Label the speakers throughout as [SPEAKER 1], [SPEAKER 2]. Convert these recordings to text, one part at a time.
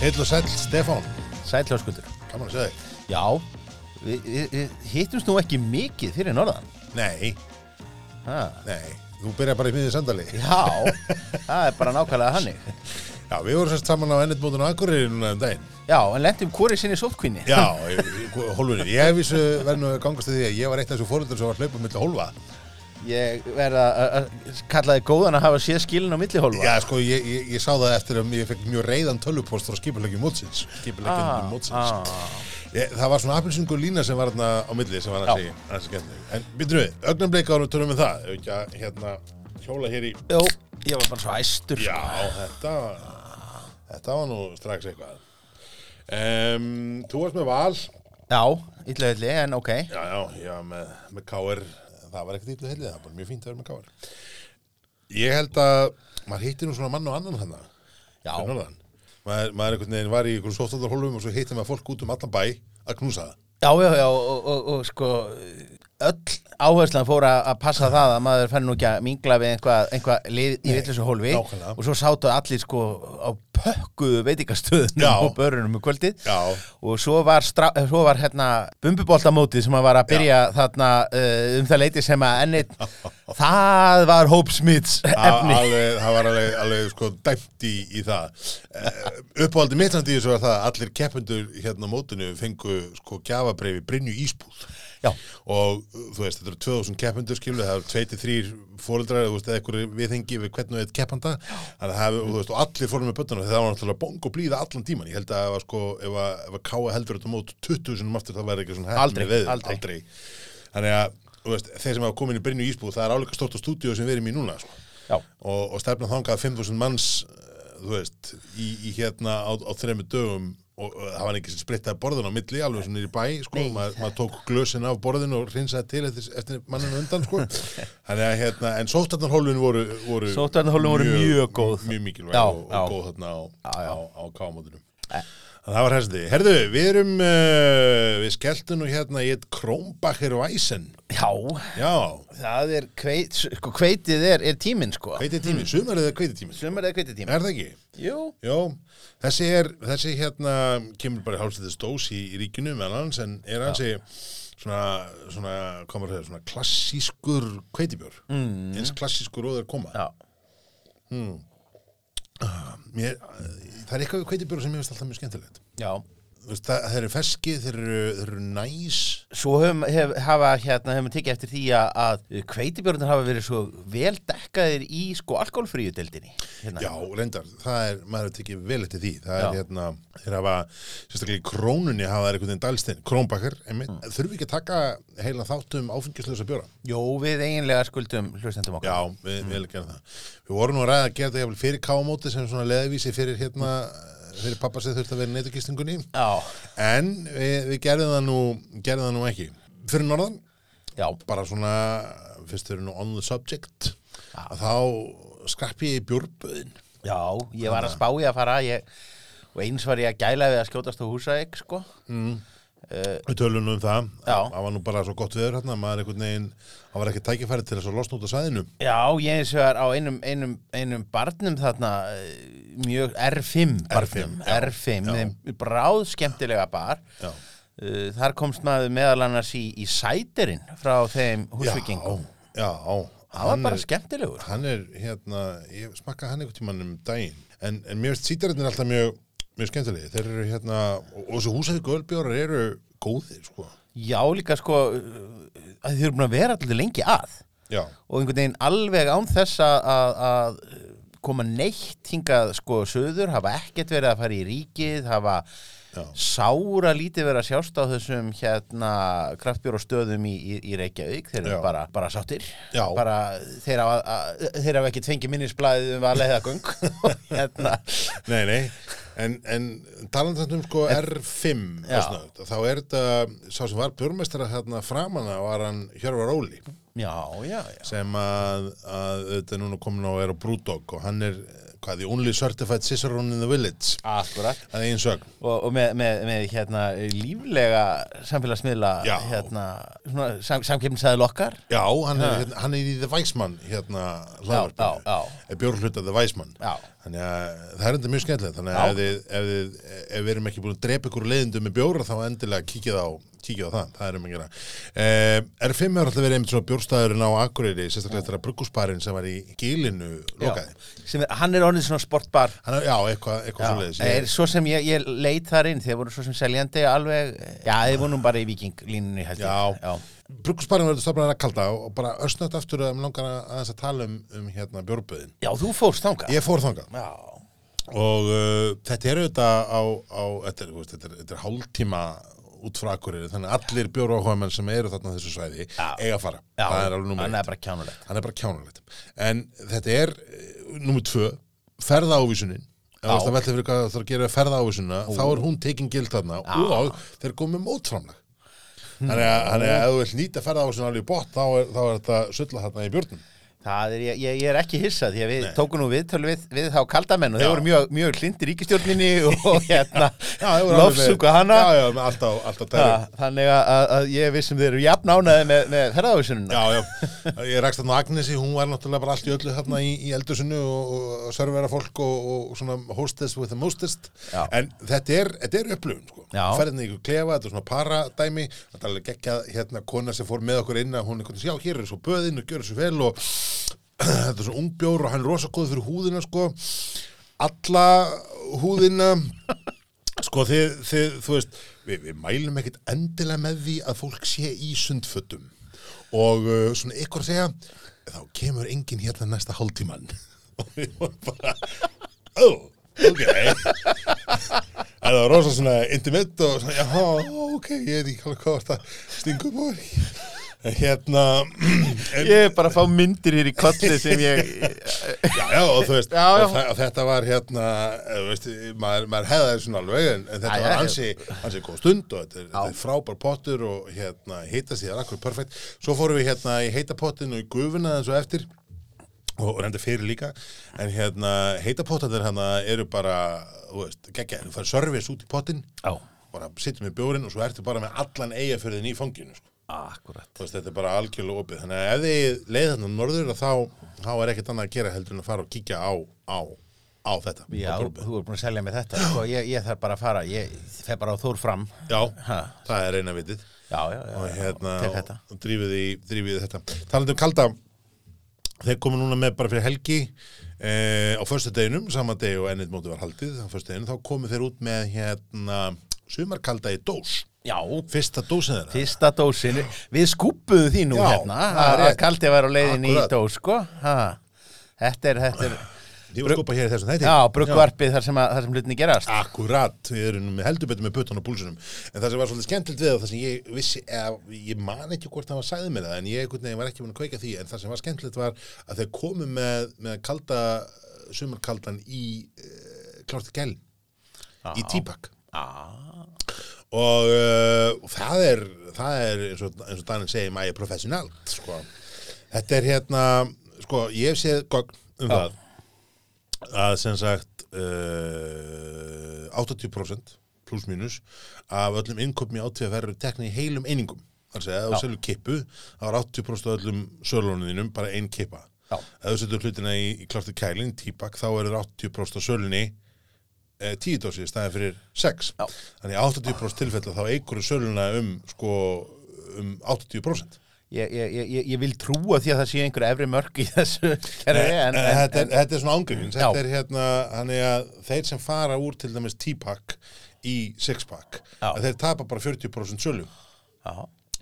[SPEAKER 1] Heill og sæll, Stefán.
[SPEAKER 2] Sætljóskuldur.
[SPEAKER 1] Gaman að segja þig.
[SPEAKER 2] Já, við vi, vi, hittumst nú ekki mikið fyrir norðan.
[SPEAKER 1] Nei,
[SPEAKER 2] Ha.
[SPEAKER 1] nei. Þú byrjar bara í miðið sandali.
[SPEAKER 2] Já, það er bara nákvæmlega hannig.
[SPEAKER 1] Já, við vorum sérst saman á ennitmótinu Akureyri núna um daginn.
[SPEAKER 2] Já, en lentum hvorið sinni sótkvinni.
[SPEAKER 1] Já, hólfunni. Ég hef vissu verðinu gangast að því að ég var eitt af þessu fóröldur sem var hlaupum milli hólfa.
[SPEAKER 2] Ég verða að- að kalla þið góðan að hafa séð skilin á millihólfa.
[SPEAKER 1] Já, sko, ég, ég, ég sá það eftir að ég fekk mjög reyðan tölvupost frá skipulegjum mótsins. Skipulegjum
[SPEAKER 2] Ah,
[SPEAKER 1] mótsins.
[SPEAKER 2] ah.
[SPEAKER 1] Ég, það var svona appelsingur lína sem var hérna á milli sem var að
[SPEAKER 2] Já.
[SPEAKER 1] segja, það er skemmtileg. En byrjum við, augnableika árum tölum við það, ef ekki að hérna hjóla hér í,
[SPEAKER 2] Jó, ég var bara svo æstur. sko.
[SPEAKER 1] já, þetta, þetta var nú strax eitthvað. Um, þú varst með val, já,
[SPEAKER 2] Já, illa ylli, en ok.
[SPEAKER 1] já, já, með, með káir, það var ekkert ítlu helið, það var bara mjög fínt að vera með káir. Ég held að maður hittir nú svona mann og annan hann
[SPEAKER 2] Já,
[SPEAKER 1] fyrir norðan. Maður, maður einhvern veginn var í einhvern sóttandarhólum og svo hittir maður fólk út um allan bæ að knúsa það.
[SPEAKER 2] já, já, já og, og, og sko, öll áherslan fór að að passa það að maður fann nú ekki að mingla við einhvað, einhvað lið í villisu hólfi
[SPEAKER 1] nákvæmlega.
[SPEAKER 2] og svo sátu allir sko á pökkuðu veitingastöðunum
[SPEAKER 1] Já.
[SPEAKER 2] og börunum um kvöldið
[SPEAKER 1] Já.
[SPEAKER 2] og svo var, stra- eh, svo var hérna bumbuboltamótið sem að var að byrja þarna uh, um það leiti sem að ennit það var Hope Smiths
[SPEAKER 1] Al-
[SPEAKER 2] efni
[SPEAKER 1] alveg, það var alveg, alveg sko dæmt í, í það uh, uppáhaldi mitt samt í þessu var það að allir keppendur hérna á mótinu fengu sko gjafabreifi Brynju Ísbúð
[SPEAKER 2] Já.
[SPEAKER 1] og uh, þú veist, þetta eru 2000 keppendur skilu það eru 23 fóreldrar þú veist, eða eitthvað viðhengi við hvern og eitt keppanda þannig að það, og þú veist, og allir fórum með bötnuna það var náttúrulega bong og blíða allan tíman ég held að það var sko, ef að, ef að káa heldur þetta mót 20 sinum aftur, það væri ekki svona heppni
[SPEAKER 2] Aldrei,
[SPEAKER 1] veður,
[SPEAKER 2] aldrei.
[SPEAKER 1] aldrei þannig að, þú veist, þeir sem hafa komin í Brynju Ísbúð það er áleika stort á stúdíu sem við erum í núna sko
[SPEAKER 2] Já.
[SPEAKER 1] og, og stefna þangað 5.000 manns eh, þú veist, í, í hérna á, á þremmu dögum og og það var ekki sem sprittaði borðin á milli, alveg svona niður í bæ sko, maður mað tók glösin af borðinu og rinsaði til eftir, eftir manninu undan sko. Þannig að, hérna, en sóttarnarhólfin voru, voru
[SPEAKER 2] Sóttvarnahólfin voru mjög góð.
[SPEAKER 1] mjög mikilvæg
[SPEAKER 2] Já,
[SPEAKER 1] og, og
[SPEAKER 2] já.
[SPEAKER 1] góð þarna á,
[SPEAKER 2] Já, já.
[SPEAKER 1] á, á káamótunum Það var hæsandi. Herðu, við erum uh, við skelltum nú hérna í eitt Krómbacher Væsen.
[SPEAKER 2] Já,
[SPEAKER 1] Já,
[SPEAKER 2] það er kveit, sko, kveitið er, er tíminn sko
[SPEAKER 1] kveititími, mm. sumarið er kveititími.
[SPEAKER 2] Sumar eða kveitið tíminn
[SPEAKER 1] Er það ekki?
[SPEAKER 2] Jú
[SPEAKER 1] Jó, þessi er, þessi hérna kemur bara hálfstöðu stós í, í ríkinu meðan hans en er hansi svona, svona, hvað maður hefur, svona klassískur kveitibjör mm. eins klassískur og það er koma
[SPEAKER 2] Já,
[SPEAKER 1] Mér, það er eitthvað við kveitibjör sem ég veist alltaf mjög skemmtilegt
[SPEAKER 2] já
[SPEAKER 1] Þú veist, það, þeir eru feskið, þeir eru, þeir eru næs
[SPEAKER 2] Svo hefum, hef, hafa, hérna, hefum tekið eftir því að, að kveitibjörnir hafa verið svo vel dekkaðir í sko alkoholfríu deildinni. Hérna.
[SPEAKER 1] Já, reyndar, það er, maður hefur tekið vel eftir því það er
[SPEAKER 2] Já.
[SPEAKER 1] hérna, þeir hafa sérstaklega í krónunni hafa þeir einhvern veginn dælstinn krónbakkar, mm. þurfi ekki að taka heila þáttum áfengislösa bjóra
[SPEAKER 2] Jó, við eiginlega skuldum hlustendum okkar.
[SPEAKER 1] Já, við mm. viljum gera það. Við vorum nú að ræða að gera þetta jafnvel fyrir káamóti sem svona leðavísi fyrir hérna, fyrir pappa sem þurfti að vera í neytukistingunni.
[SPEAKER 2] Já,
[SPEAKER 1] En við, við gerðum það nú, gerðum það nú ekki. Fyrir norðan,
[SPEAKER 2] já,
[SPEAKER 1] bara svona, fyrst þau eru nú on the subject, að þá skrapp ég í bjórböðin.
[SPEAKER 2] já, ég var að spá í að fara ég, og eins var ég að gæla við að skjótast á húsæk, sko.
[SPEAKER 1] Mm. Við tölum nú um það.
[SPEAKER 2] Já.
[SPEAKER 1] Það var nú bara svo gott viður hérna, maður einhvern veginn, það var ekki tækifæri til þess að losna út af sæðinu.
[SPEAKER 2] Já, ég eins og var á einum, einum, einum barnum þarna, eh, mjög R5 barnum,
[SPEAKER 1] já,
[SPEAKER 2] R5,
[SPEAKER 1] já.
[SPEAKER 2] þeim bráð skemmtilega bar.
[SPEAKER 1] Já.
[SPEAKER 2] Eh, Þar komst maður meðal annars í, í sætirinn frá þeim húsvikingum.
[SPEAKER 1] Já, já.
[SPEAKER 2] Það var
[SPEAKER 1] Hann
[SPEAKER 2] bara
[SPEAKER 1] er-
[SPEAKER 2] skemmtilegur.
[SPEAKER 1] hann er hérna, ég smakkaði hann einhvern tímann um daginn en, en mér finnst sítarinn er alltaf mjög, mjög skemmtilegi, þeir eru hérna og, og þessu húsæðu gölbjórar eru góðir sko,
[SPEAKER 2] Já, líka sko, uh, að þið eru búin að vera alltaf lengi að
[SPEAKER 1] já,
[SPEAKER 2] og einhvern veginn alveg án þess að, að- að koma neitt hingað sko söður, hafa ekkert verið að fara í ríkið, hafa
[SPEAKER 1] Já.
[SPEAKER 2] sára lítið verið að sjást á þessum hérna kraftbjórastöðum í, í, í Reykjavík, þeir eru
[SPEAKER 1] Já.
[SPEAKER 2] bara, bara sáttir,
[SPEAKER 1] Já.
[SPEAKER 2] bara þeir hafa, að, þeir hafa ekki tvengi minnisblæðið um að leiða göng hérna.
[SPEAKER 1] nei, nei en, en talandi þetta um sko R5
[SPEAKER 2] Já.
[SPEAKER 1] og snögt, þá er þetta sá sem var björnmestara hérna framana var hann Hjörvar Óli
[SPEAKER 2] Já, já, já.
[SPEAKER 1] sem að, að þetta er núna komin á er á Brúdog og hann er hvað, the only certified cicerone in the village
[SPEAKER 2] Akkurat
[SPEAKER 1] það er einn sögn
[SPEAKER 2] og, og með, með, með hérna, líflega samfélagsmiðla
[SPEAKER 1] Já.
[SPEAKER 2] hérna, svona, sam, samkeppnisæðil okkar
[SPEAKER 1] já, hann er, hérna, hann er í The Weissmann hérna,
[SPEAKER 2] já, já.
[SPEAKER 1] hlaðvarpinu bjórhluta The Weissmann
[SPEAKER 2] Já.
[SPEAKER 1] þannig að það er enda mjög skemmtilegt þannig
[SPEAKER 2] Já.
[SPEAKER 1] að ef, þið, ef, þið, ef við erum ekki búin að drepa ykkur úr leiðindum með bjóra þá endilega kíkið á, kíkið á það, það erum að gera eh, R5 er alltaf verið einmitt svona bjórstæðurinn á Akureyri, sérstaklega þetta brugghúsbarinn sem var í gilinu lokaði
[SPEAKER 2] sem er, hann er orðin svona sportbar
[SPEAKER 1] Hann er, já, eitthvað, eitthvað
[SPEAKER 2] Já,
[SPEAKER 1] svoleiðis
[SPEAKER 2] er, svo sem ég, ég leit þar inn þeir voru svo sem seljandi alveg já, þeir voru nú bara í vikinglínunni held ég.
[SPEAKER 1] Já.
[SPEAKER 2] já,
[SPEAKER 1] Brugghúsbarinn verður stofnaðan að kalda og bara östnött aftur að mér langar að aðeins að tala um, um hérna bjórböðin.
[SPEAKER 2] Já, þú fórst þangað
[SPEAKER 1] Ég fór þangað
[SPEAKER 2] já,
[SPEAKER 1] og uh, þetta er auðvitað á, á þetta, er, þú veist, þetta, er, þetta er hálftíma út frá Akureyri, þannig að allir bjóráhóðamenn sem eru þarna á þessu svæði
[SPEAKER 2] Já.
[SPEAKER 1] eiga að fara.
[SPEAKER 2] já
[SPEAKER 1] það er alveg númer eitt.
[SPEAKER 2] hann er bara kjánulegt
[SPEAKER 1] Hann er bara kjánulegt. En þetta er eh, númer tvö, ferða ávísunin. Ef
[SPEAKER 2] Já.
[SPEAKER 1] þú veist að velja fyrir hvað það er að gera ferða ávísunina, þá er hún tekin gild þarna og þeir komið mótframlega. Þannig að, þannig að ef þú vilt nýta ferða ávísunina alveg í bótt, þá er, þá er þetta sulla þarna í björnum.
[SPEAKER 2] Það er, ég, ég er ekki hissað því að við tókum nú viðtöl við, við þá kaldamenn og þeir
[SPEAKER 1] Já.
[SPEAKER 2] voru mjög, mjög klindi ríkistjórninni og hérna
[SPEAKER 1] Já, þeir voru alveg með-
[SPEAKER 2] lofsúka hana
[SPEAKER 1] Já, já, með alltaf, alltaf
[SPEAKER 2] Ha,
[SPEAKER 1] tæri.
[SPEAKER 2] Þannig að, að- að ég vissum þeir eru jafn ánaði með, með ferðavísununa
[SPEAKER 1] Já, já, ég rakst þarna á Agnesi, hún var náttúrulega bara allt í öllu þarna í, í eldusinu og, og servera fólk og, og svona hostess with the mostest
[SPEAKER 2] Já.
[SPEAKER 1] en þetta er, þetta er upplöfun sko.
[SPEAKER 2] Já.
[SPEAKER 1] ferðinni ykkur klefa, þetta er svona paradæmi þetta er alveg gekkja hérna kona sem fór með okkur inn að hún einhvern veginn, já, hér er svo böðin og gjör svo vel og þetta er svona ungbjór og hann er rosakóð fyrir húðina sko, alla húðina Sko þið, þið þú veist, við, við mælum ekkit endilega með því að fólk sé í sundfötum og uh, svona ykkur segja, þá kemur enginn hérna næsta hálftíman og við vorum bara, ó, Oh, ok, en það var rosa svona intimate og svona, já, ok, ég veit ekki alveg hvað var það, stingum og hérna, en,
[SPEAKER 2] Ég er bara að fá myndir hér í kolli sem ég
[SPEAKER 1] já, já, og þú veist,
[SPEAKER 2] Já, já.
[SPEAKER 1] Og, þa- og þetta var hérna, eh, þú veist, maður, maður hefði það svona alveg, en, en þetta
[SPEAKER 2] Æ, já,
[SPEAKER 1] var
[SPEAKER 2] já.
[SPEAKER 1] ansi, ansi góð stund og þetta er, þetta er frábær pottur og hérna, heita síðan akkur perfekt. Svo fórum við hérna í heita pottinn og í gufuna eins og eftir og og reyndar fyrir líka en hérna, heita pottarnir hérna eru bara, þú veist, geggja þú fær service út í pottinn,
[SPEAKER 2] Já,
[SPEAKER 1] bara sittum með bjórin og svo ertu bara með allan eigafjörðin í fanginu, sko
[SPEAKER 2] akkurat
[SPEAKER 1] þú veist, þetta er bara algjörlega opið þannig að ef þið leið þarna um norður að þá, þá er ekkert annað að gera heldur en að fara og kíkja á, á, á þetta
[SPEAKER 2] Já,
[SPEAKER 1] Á brúðbauð.
[SPEAKER 2] þú er búin að selja mig þetta sko, ég, ég þarf bara að fara, ég fer bara á Þór fram
[SPEAKER 1] já
[SPEAKER 2] Ha.
[SPEAKER 1] það er eina vitið
[SPEAKER 2] Já, já, já,
[SPEAKER 1] og
[SPEAKER 2] já,
[SPEAKER 1] hérna,
[SPEAKER 2] tek þetta
[SPEAKER 1] og drífið í, drífið í þetta talandi um kalda þeir komu núna með bara fyrir helgi eh, á föstu deginum, sama degi og ennit móti var haldið, á föstu deginum, þá komu þeir út með hérna, sumarkalda í dós
[SPEAKER 2] Já,
[SPEAKER 1] fyrsta dósin þeirra
[SPEAKER 2] Fyrsta dósin, við skúpuðu því nú
[SPEAKER 1] Já,
[SPEAKER 2] hérna,
[SPEAKER 1] það er
[SPEAKER 2] að
[SPEAKER 1] rétt.
[SPEAKER 2] kaldi var á leiðin í
[SPEAKER 1] Akkurat.
[SPEAKER 2] dós, sko. Ha. Þetta er, þetta er,
[SPEAKER 1] því var skopað hér í þessum þætti
[SPEAKER 2] já, bruggvarpið þar sem, að, þar sem hlutinni gerast.
[SPEAKER 1] Akkurat, við erum með heldur betur með puttan og púlsunum en það sem var svolítið skemmtilegt við og það sem ég vissi, eða, ég man ekki hvort það var sæðið mér það en ég einhvern veginn var ekki búin að kveika því en það sem var skemmtilegt var að þeir komu með, með kalda, sumarkaldan í uh, klárti gæl í típak
[SPEAKER 2] Ah,
[SPEAKER 1] og uh, það er, það er eins, og, eins og Danin segir maður professionalt sko. þetta er hérna sko, ég hef séð gogn um
[SPEAKER 2] Já.
[SPEAKER 1] það að sem sagt uh, 80% pluss mínus af öllum innköpum í átveg verður tekni í heilum einingum þannig að ef þú
[SPEAKER 2] Já.
[SPEAKER 1] selur kippu þá er 80% af öllum sölunum þínum bara ein kippa
[SPEAKER 2] Já.
[SPEAKER 1] ef þú setur hlutina í, í klartu kælin, típak þá er 80% af sölunni eh, tíu dósi í staðin fyrir sex
[SPEAKER 2] Já.
[SPEAKER 1] þannig í 80% tilfella þá eigur söluna um sko um 80%
[SPEAKER 2] ég, ég, ég, ég- ég vil trúa því að það sé einhver efri mörg í þessu kerfi, en,
[SPEAKER 1] Eh,
[SPEAKER 2] en,
[SPEAKER 1] þetta, er, þetta er svona ángöfins
[SPEAKER 2] Já.
[SPEAKER 1] þetta er hérna, þannig að þeir sem fara úr til dæmis típak í sexpak,
[SPEAKER 2] Já.
[SPEAKER 1] að þeir tapa bara 40% sölu
[SPEAKER 2] já,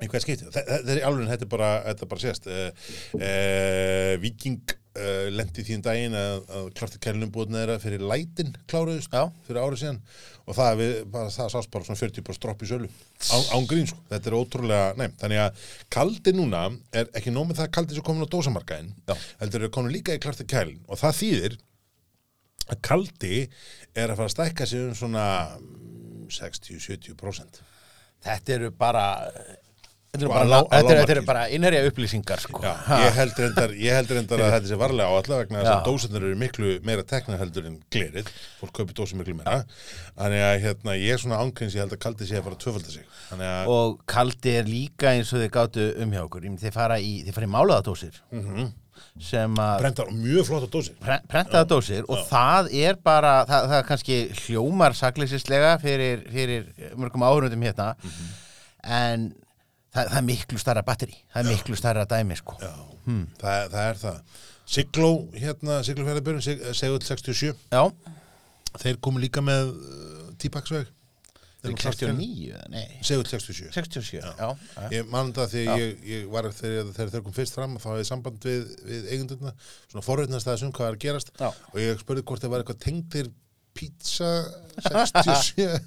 [SPEAKER 1] í hvert skipti, Þe- þe- þeir eru alveg þetta er bara, þetta er bara sést uh, uh, Viking uh, lendi því en daginn að, að klartu kælunum búið neðra fyrir lætin kláruðust
[SPEAKER 2] Já.
[SPEAKER 1] fyrir árið síðan og það, við, bara, það sást bara svona 40 dropp í sölu á, án grín sko, þetta er ótrúlega nefn, þannig að kaldi núna er ekki nóg með það að kaldi sem komin á dósamarkaðin
[SPEAKER 2] Já.
[SPEAKER 1] heldur er komin líka í klartu kælun og það þýðir að kaldi er að fara að stækka sig um svona mm, 60-70%
[SPEAKER 2] þetta eru bara Þetta eru
[SPEAKER 1] Sko,
[SPEAKER 2] bara,
[SPEAKER 1] að lá-
[SPEAKER 2] lá,
[SPEAKER 1] að
[SPEAKER 2] þetta eru- þetta eru
[SPEAKER 1] lágmarki.
[SPEAKER 2] bara innherja upplýsingar sko.
[SPEAKER 1] Já,
[SPEAKER 2] Ha.
[SPEAKER 1] ég held reyndar, ég held reyndar að þetta sé varlega áallega vegna þess að
[SPEAKER 2] Já.
[SPEAKER 1] dósarnir eru miklu meira tekna heldur en glerið, fólk kaupir dósum miklu meira þannig að hérna, ég er svona ángreins ég held að kaldi sé að fara að tvöfalda sig þannig að,
[SPEAKER 2] og kaldi er líka eins og þið gátu um hjá okkur Ég meina, þið fara í, þið fara í málaðadósir
[SPEAKER 1] Mhm.
[SPEAKER 2] sem að
[SPEAKER 1] brentar mjög flotta dósir
[SPEAKER 2] pre- prentaða dósir og það er bara, það, það er kannski hljómar sakleysislega fyrir, fyrir mörgum áhörundum hérna
[SPEAKER 1] Mhm.
[SPEAKER 2] en það, það er miklu starra batteri, það er miklu starra dæmi sko.
[SPEAKER 1] Já, það, það er það Sigló, hérna, Siglófjörðabjörn Sig- Segull 67,
[SPEAKER 2] Já,
[SPEAKER 1] þeir komu líka með uh, típaksveg Þeir eru klárt fyrir-
[SPEAKER 2] 69 eða nei,
[SPEAKER 1] Segull 67
[SPEAKER 2] 67 já. Eh? Já.
[SPEAKER 1] Ég man þetta þegar ég, ég var þegar, þegar þeir kom fyrst fram þá hafði ég samband við, við eigendurna svona forveitnast aðeins um hvað er að gerast
[SPEAKER 2] Já.
[SPEAKER 1] og ég spurði hvort það var eitthvað tengdir pizza 67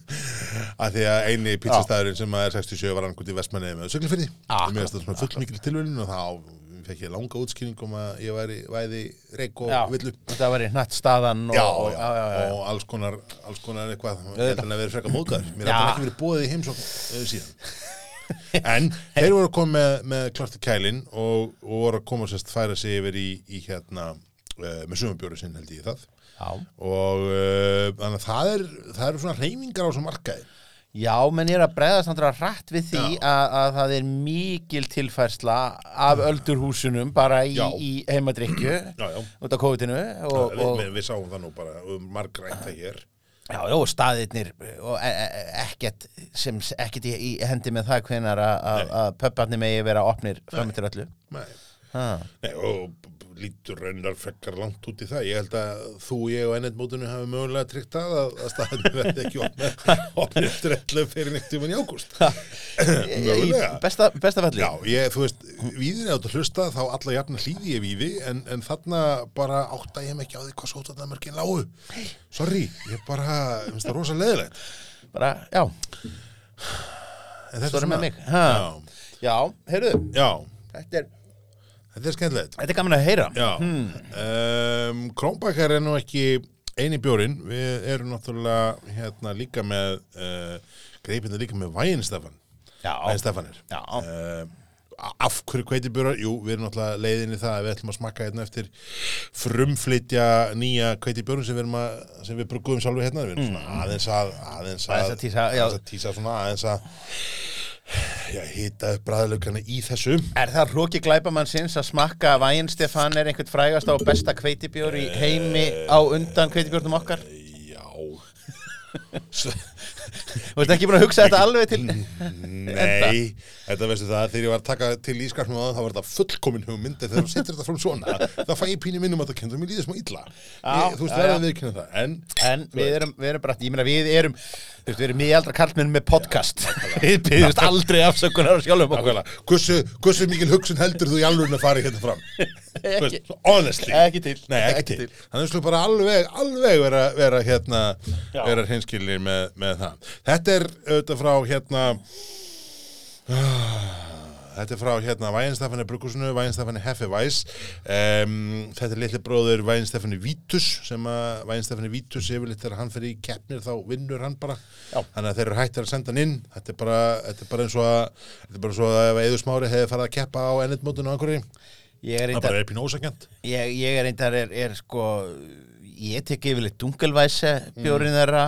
[SPEAKER 1] að því að eini pizzastæðurinn sem að er 67 var annað í vestmennið með söglufyrði
[SPEAKER 2] Akkurat.
[SPEAKER 1] mér finnst það svona full mikil tilvölin og þá fekk ég langa útskýring um að ég væri væði reik og
[SPEAKER 2] Já.
[SPEAKER 1] villu
[SPEAKER 2] Þetta var í hnattstaðan og,
[SPEAKER 1] Já,
[SPEAKER 2] og,
[SPEAKER 1] já,
[SPEAKER 2] já, já, já.
[SPEAKER 1] og alls konar, alls konar eitthvað, heldur en að vera frekka móðgæður. Mér
[SPEAKER 2] Já.
[SPEAKER 1] ætlaði ekki verið bóðið í heimsókn uh, síðan. En þeir voru að koma með, með klarti kælin og, og voru að koma sérst færa sig yfir í, í hérna, uh, með sumumbjóri sinn held ég það.
[SPEAKER 2] Já.
[SPEAKER 1] Og uh, þannig að það, er, það eru svona reyningar á þessum markaði.
[SPEAKER 2] Já, menn ég er að bregðast náttúrulega rætt við því að, að það er mikil tilfærsla af öldurhúsunum bara í,
[SPEAKER 1] Já.
[SPEAKER 2] í heimadrykju
[SPEAKER 1] Já, já.
[SPEAKER 2] út af COVID-inu og,
[SPEAKER 1] við,
[SPEAKER 2] og,
[SPEAKER 1] við, við sáum það nú bara um margrætt það hér.
[SPEAKER 2] já, já, og staðirnir og e e ekkert sem s- ekkert í, í hendi með það hvenar að- að að pöpparnir megi vera opnir fram til öllu.
[SPEAKER 1] Nei.
[SPEAKER 2] Ha.
[SPEAKER 1] Nei, og b- b- lítur raunar frekkar langt út í það. Ég held að þú, ég og ennett mótunum hafi mögulega tryggt það að, að staðinu verði ekki opnið opnið eftir ellu fyrir neitt tíman í ágúst.
[SPEAKER 2] Í- Í
[SPEAKER 1] Mögulega.
[SPEAKER 2] besta, besta falli.
[SPEAKER 1] Já, ég, þú veist, víðin átt að hlusta þá alla jafna hlýði ég víði en, en þarna bara átta ég mig ekki á því hvað sótarnamörkin lágu. Sorry, ég bara, ég finnst það rosa leðilegt.
[SPEAKER 2] Bara, já,
[SPEAKER 1] En þetta er
[SPEAKER 2] svo er
[SPEAKER 1] svona-
[SPEAKER 2] með mig. Ha.
[SPEAKER 1] Já,
[SPEAKER 2] Já, heyrðu,
[SPEAKER 1] já,
[SPEAKER 2] þetta er,
[SPEAKER 1] þetta er skemmtilegt.
[SPEAKER 2] þetta er gaman að heyra.
[SPEAKER 1] Já,
[SPEAKER 2] Hmm.
[SPEAKER 1] um, Krónbakar er nú ekki eini bjórin, við erum náttúrulega hérna líka með uh, greipinda líka með Væinstafan
[SPEAKER 2] Já,
[SPEAKER 1] Væinstafanir
[SPEAKER 2] Já.
[SPEAKER 1] uh, Af hverju kveiti bjórar? Jú, við erum náttúrulega leiðin í það að við ætlum að smakka hérna eftir frumflytja nýja kveiti bjórun sem við, erum að, sem við brugum sjálfu hérna, við erum svona aðeins að aðeins að,
[SPEAKER 2] Hmm. Aðeins að tísa, já.
[SPEAKER 1] aðeins að tísa svona aðeins að já, hita upp bræðlökana í þessu
[SPEAKER 2] Er það hróki glæpamannsins að smakka að Væin Stefán er einhvern frægasta og besta kveitibjór í heimi á undan kveitibjórnum okkar?
[SPEAKER 1] Já,
[SPEAKER 2] Þú veist ekki búin að hugsa þetta alveg til
[SPEAKER 1] Nei, þetta veistu það, þegar ég var að taka til ískarpnum á það, þá var þetta fullkomin hugmynd en þegar þú setur þetta fram svona, þá fæ ég pínu minnum að það kendur mér líðið smá illa ég, Þú veist,
[SPEAKER 2] já,
[SPEAKER 1] það er
[SPEAKER 2] já.
[SPEAKER 1] að viðkynna það En,
[SPEAKER 2] En við erum, við erum bara, ég meina við erum, þú veist, við erum miðaldra karlmenn með podcast Við byggjumst aldrei afsökunar á sjálfum okkur
[SPEAKER 1] ákveðlega, hversu, hversu mikil hugsun heldur þú í alveg að fara hérna fram? Þú
[SPEAKER 2] Ekki-
[SPEAKER 1] veist, honestly
[SPEAKER 2] Ekki til
[SPEAKER 1] Nei, ekki, til. Þannig slú bara alveg, alveg vera, vera hérna,
[SPEAKER 2] Já.
[SPEAKER 1] vera hinskilir með, með það. Þetta er auðvitað frá hérna, þetta er frá hérna Væinstafani Brukusinu, Væinstafani Heffi Væs. Um, þetta er litli bróður Væinstafani Vítus, sem að Væinstafani Vítus yfirleitt þegar hann fyrir í keppnir þá vinnur hann bara.
[SPEAKER 2] Já.
[SPEAKER 1] Þannig að þeir eru hættir að senda hann inn. Þetta er bara, þetta er bara eins og að, þetta er bara eins og að ef Eður Smári hefði farið að keppa á ennitmótinu á einhverju.
[SPEAKER 2] Ég er
[SPEAKER 1] Það
[SPEAKER 2] reyndar,
[SPEAKER 1] bara er pínósakjönd.
[SPEAKER 2] ég, ég er reyndar, er, er sko, ég tek yfirleitt dungalvæse bjórin
[SPEAKER 1] Mm.
[SPEAKER 2] þeirra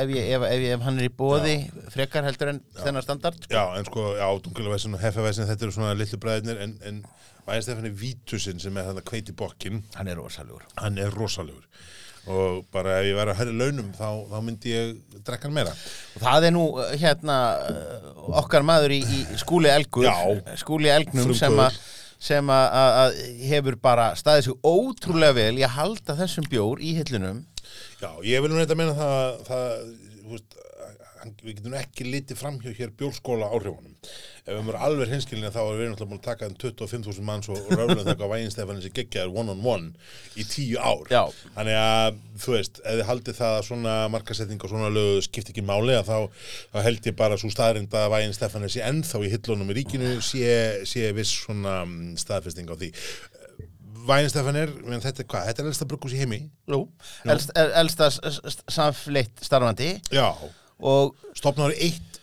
[SPEAKER 2] ef, ég, ef, ef, ef hann er í bóði, frekar heldur en þennar standard
[SPEAKER 1] Já, en sko, já, dungulevæsin og heffavæsin, þetta eru svona litlu bræðinir, en, en Væðinstefani Vítusinn sem er þetta kveiti bokkin,
[SPEAKER 2] Hann er rosalegur
[SPEAKER 1] hann er rosalegur. Og bara ef ég væri að herri launum, þá, þá myndi ég drekka hann meira.
[SPEAKER 2] Og það er nú uh, hérna uh, okkar maður í, í skúli elgur eh,
[SPEAKER 1] Já.
[SPEAKER 2] skúli elgnum
[SPEAKER 1] Frumkvöðull.
[SPEAKER 2] sem að sem að- að að hefur bara staðið sig ótrúlega vel í að halda þessum bjór í hillunum
[SPEAKER 1] Já, ég vil nú reynda að meina það, það þú veist, hann, við getum nú ekki litið framhjá hér bjórskóla áhrifunum. Ef við erum alveg hinskilinni þá erum við náttúrulega búin að taka um 25.000 manns og röflum þekka væginstefanin sem geggjaður one on one í tíu ár.
[SPEAKER 2] Já.
[SPEAKER 1] Þannig að, þú veist, ef þið haldið það að svona markasetning og svona lögu skipti ekki máli að þá, þá held ég bara svo staðrind að væginstefanin sé ennþá í hillunum í ríkinu sé, sé viss svona mm, staðfesting á því. Væginstefanir, þetta er hvað? Þetta er elsta brugghús í heimi?
[SPEAKER 2] Jú. elst, el, elsta s- s- samfleytt starfandi
[SPEAKER 1] Já.
[SPEAKER 2] og
[SPEAKER 1] stopnaður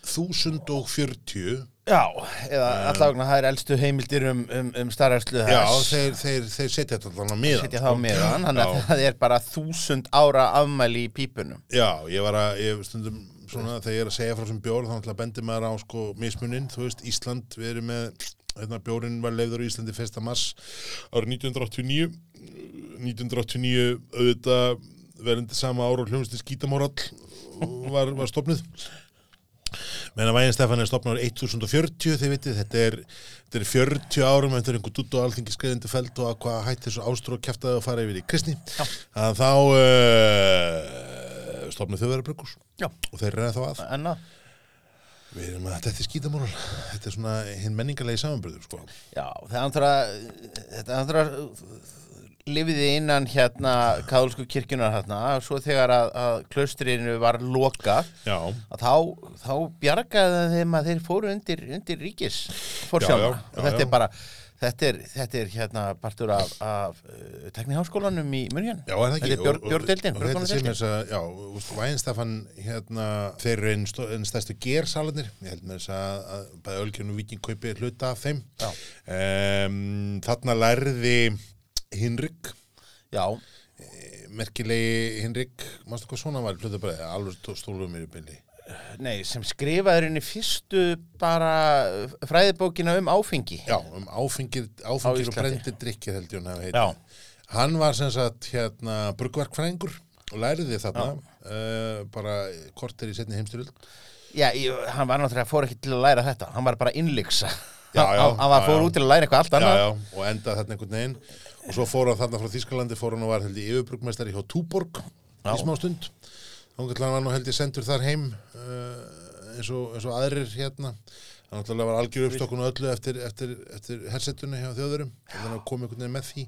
[SPEAKER 1] 1040
[SPEAKER 2] Já, eða allavegna það er elstu heimildir um, um, um starfærslu
[SPEAKER 1] Eh. Já,
[SPEAKER 2] þess
[SPEAKER 1] þeir, þeir, þeir setja þetta þannig að miðan.
[SPEAKER 2] setja þá meðan, þannig að
[SPEAKER 1] Já.
[SPEAKER 2] það er bara þúsund ára afmæli í pípunum
[SPEAKER 1] Já, ég var að, ég stundum svona þegar ég er að segja frá sem bjór, þá náttúrulega bendir maður á sko mismunin, þú veist, Ísland, við erum með, hérna, bjórinn var leiður á Íslandi 1. mars árið 1989, 1989 auðvitað verðandi sama ára hljómsni skítamórall var, var stopnuð. Meðan Vægin Stefán er stopnað árið 1040, þið vitið, þetta er, þetta er 40 árum eftir einhver dutt og alþingi skreiðindi felt og að hvað hætti þessu ástrú og kjæftaði að fara yfir í kristni. Að þá uh, stopnað þau verið bruggus
[SPEAKER 2] Já,
[SPEAKER 1] og þeir reyna þá að.
[SPEAKER 2] en að
[SPEAKER 1] Við erum að þetta er skítamóral, þetta er svona hinn menningarlegi samanbyrður, sko.
[SPEAKER 2] Já, það andra þetta andra lifiði innan hérna kaðulsku kirkjunar hérna og svo þegar að, að klaustrinu var lokað
[SPEAKER 1] Já,
[SPEAKER 2] að þá, þá bjargaði það þeim að þeir fóru undir, undir ríkis
[SPEAKER 1] Já, já,
[SPEAKER 2] fórsjána
[SPEAKER 1] já,
[SPEAKER 2] og þetta
[SPEAKER 1] já.
[SPEAKER 2] er bara þetta er, þetta er hérna partur af, af uh, tekniháskólanum í Mörgjön
[SPEAKER 1] já, er það ekki?
[SPEAKER 2] þetta er björ,
[SPEAKER 1] Og- og- Og
[SPEAKER 2] björdeldin,
[SPEAKER 1] þetta sem
[SPEAKER 2] björdeldin.
[SPEAKER 1] þess að, já, Væinstafan, hérna, þeir eru einn, stó- einn stærstu gersalarnir, ég held með þess að, að bæði Ölgjörn og Víking kaupi hluta af þeim.
[SPEAKER 2] Já.
[SPEAKER 1] Um, þarna lærði Hinrik, eh,
[SPEAKER 2] Já,
[SPEAKER 1] merkilegi Hinrik, mástu hvað svona var, hlutabræði, alveg stóluðu mér í bylli.
[SPEAKER 2] nei, sem skrifaður henni fyrstu bara fræðibókina um áfengi
[SPEAKER 1] Já, um áfengir, áfengir og
[SPEAKER 2] Íslandi.
[SPEAKER 1] brendir drikkir held ég hann hafi
[SPEAKER 2] Já.
[SPEAKER 1] heitið. Hann var sem sagt hérna brugverkfræðingur og læriði þarna uh, bara kortir í setni heimstyrjöld.
[SPEAKER 2] Já, ég, hann var náttúrulega fór ekki til að læra þetta hann var bara innlyksa
[SPEAKER 1] Já, já,
[SPEAKER 2] hann, hann var
[SPEAKER 1] já,
[SPEAKER 2] fór
[SPEAKER 1] já.
[SPEAKER 2] út til að læra eitthvað allt
[SPEAKER 1] Já,
[SPEAKER 2] annað
[SPEAKER 1] já, og endaði þarna einhvern veginn og svo fór hann þarna frá Þískalandi, fór hann og var held ég yfirbrugmestari hjá Túborg
[SPEAKER 2] Já.
[SPEAKER 1] í smá stund. Þannig að hann var nú held ég sendur þar heim uh, eins, og, eins og aðrir hérna. Hann náttúrulega var algjör uppstokkun og öllu eftir, eftir, eftir hersetunni hjá þjóðurum. Þannig að kom einhvern veginn með því.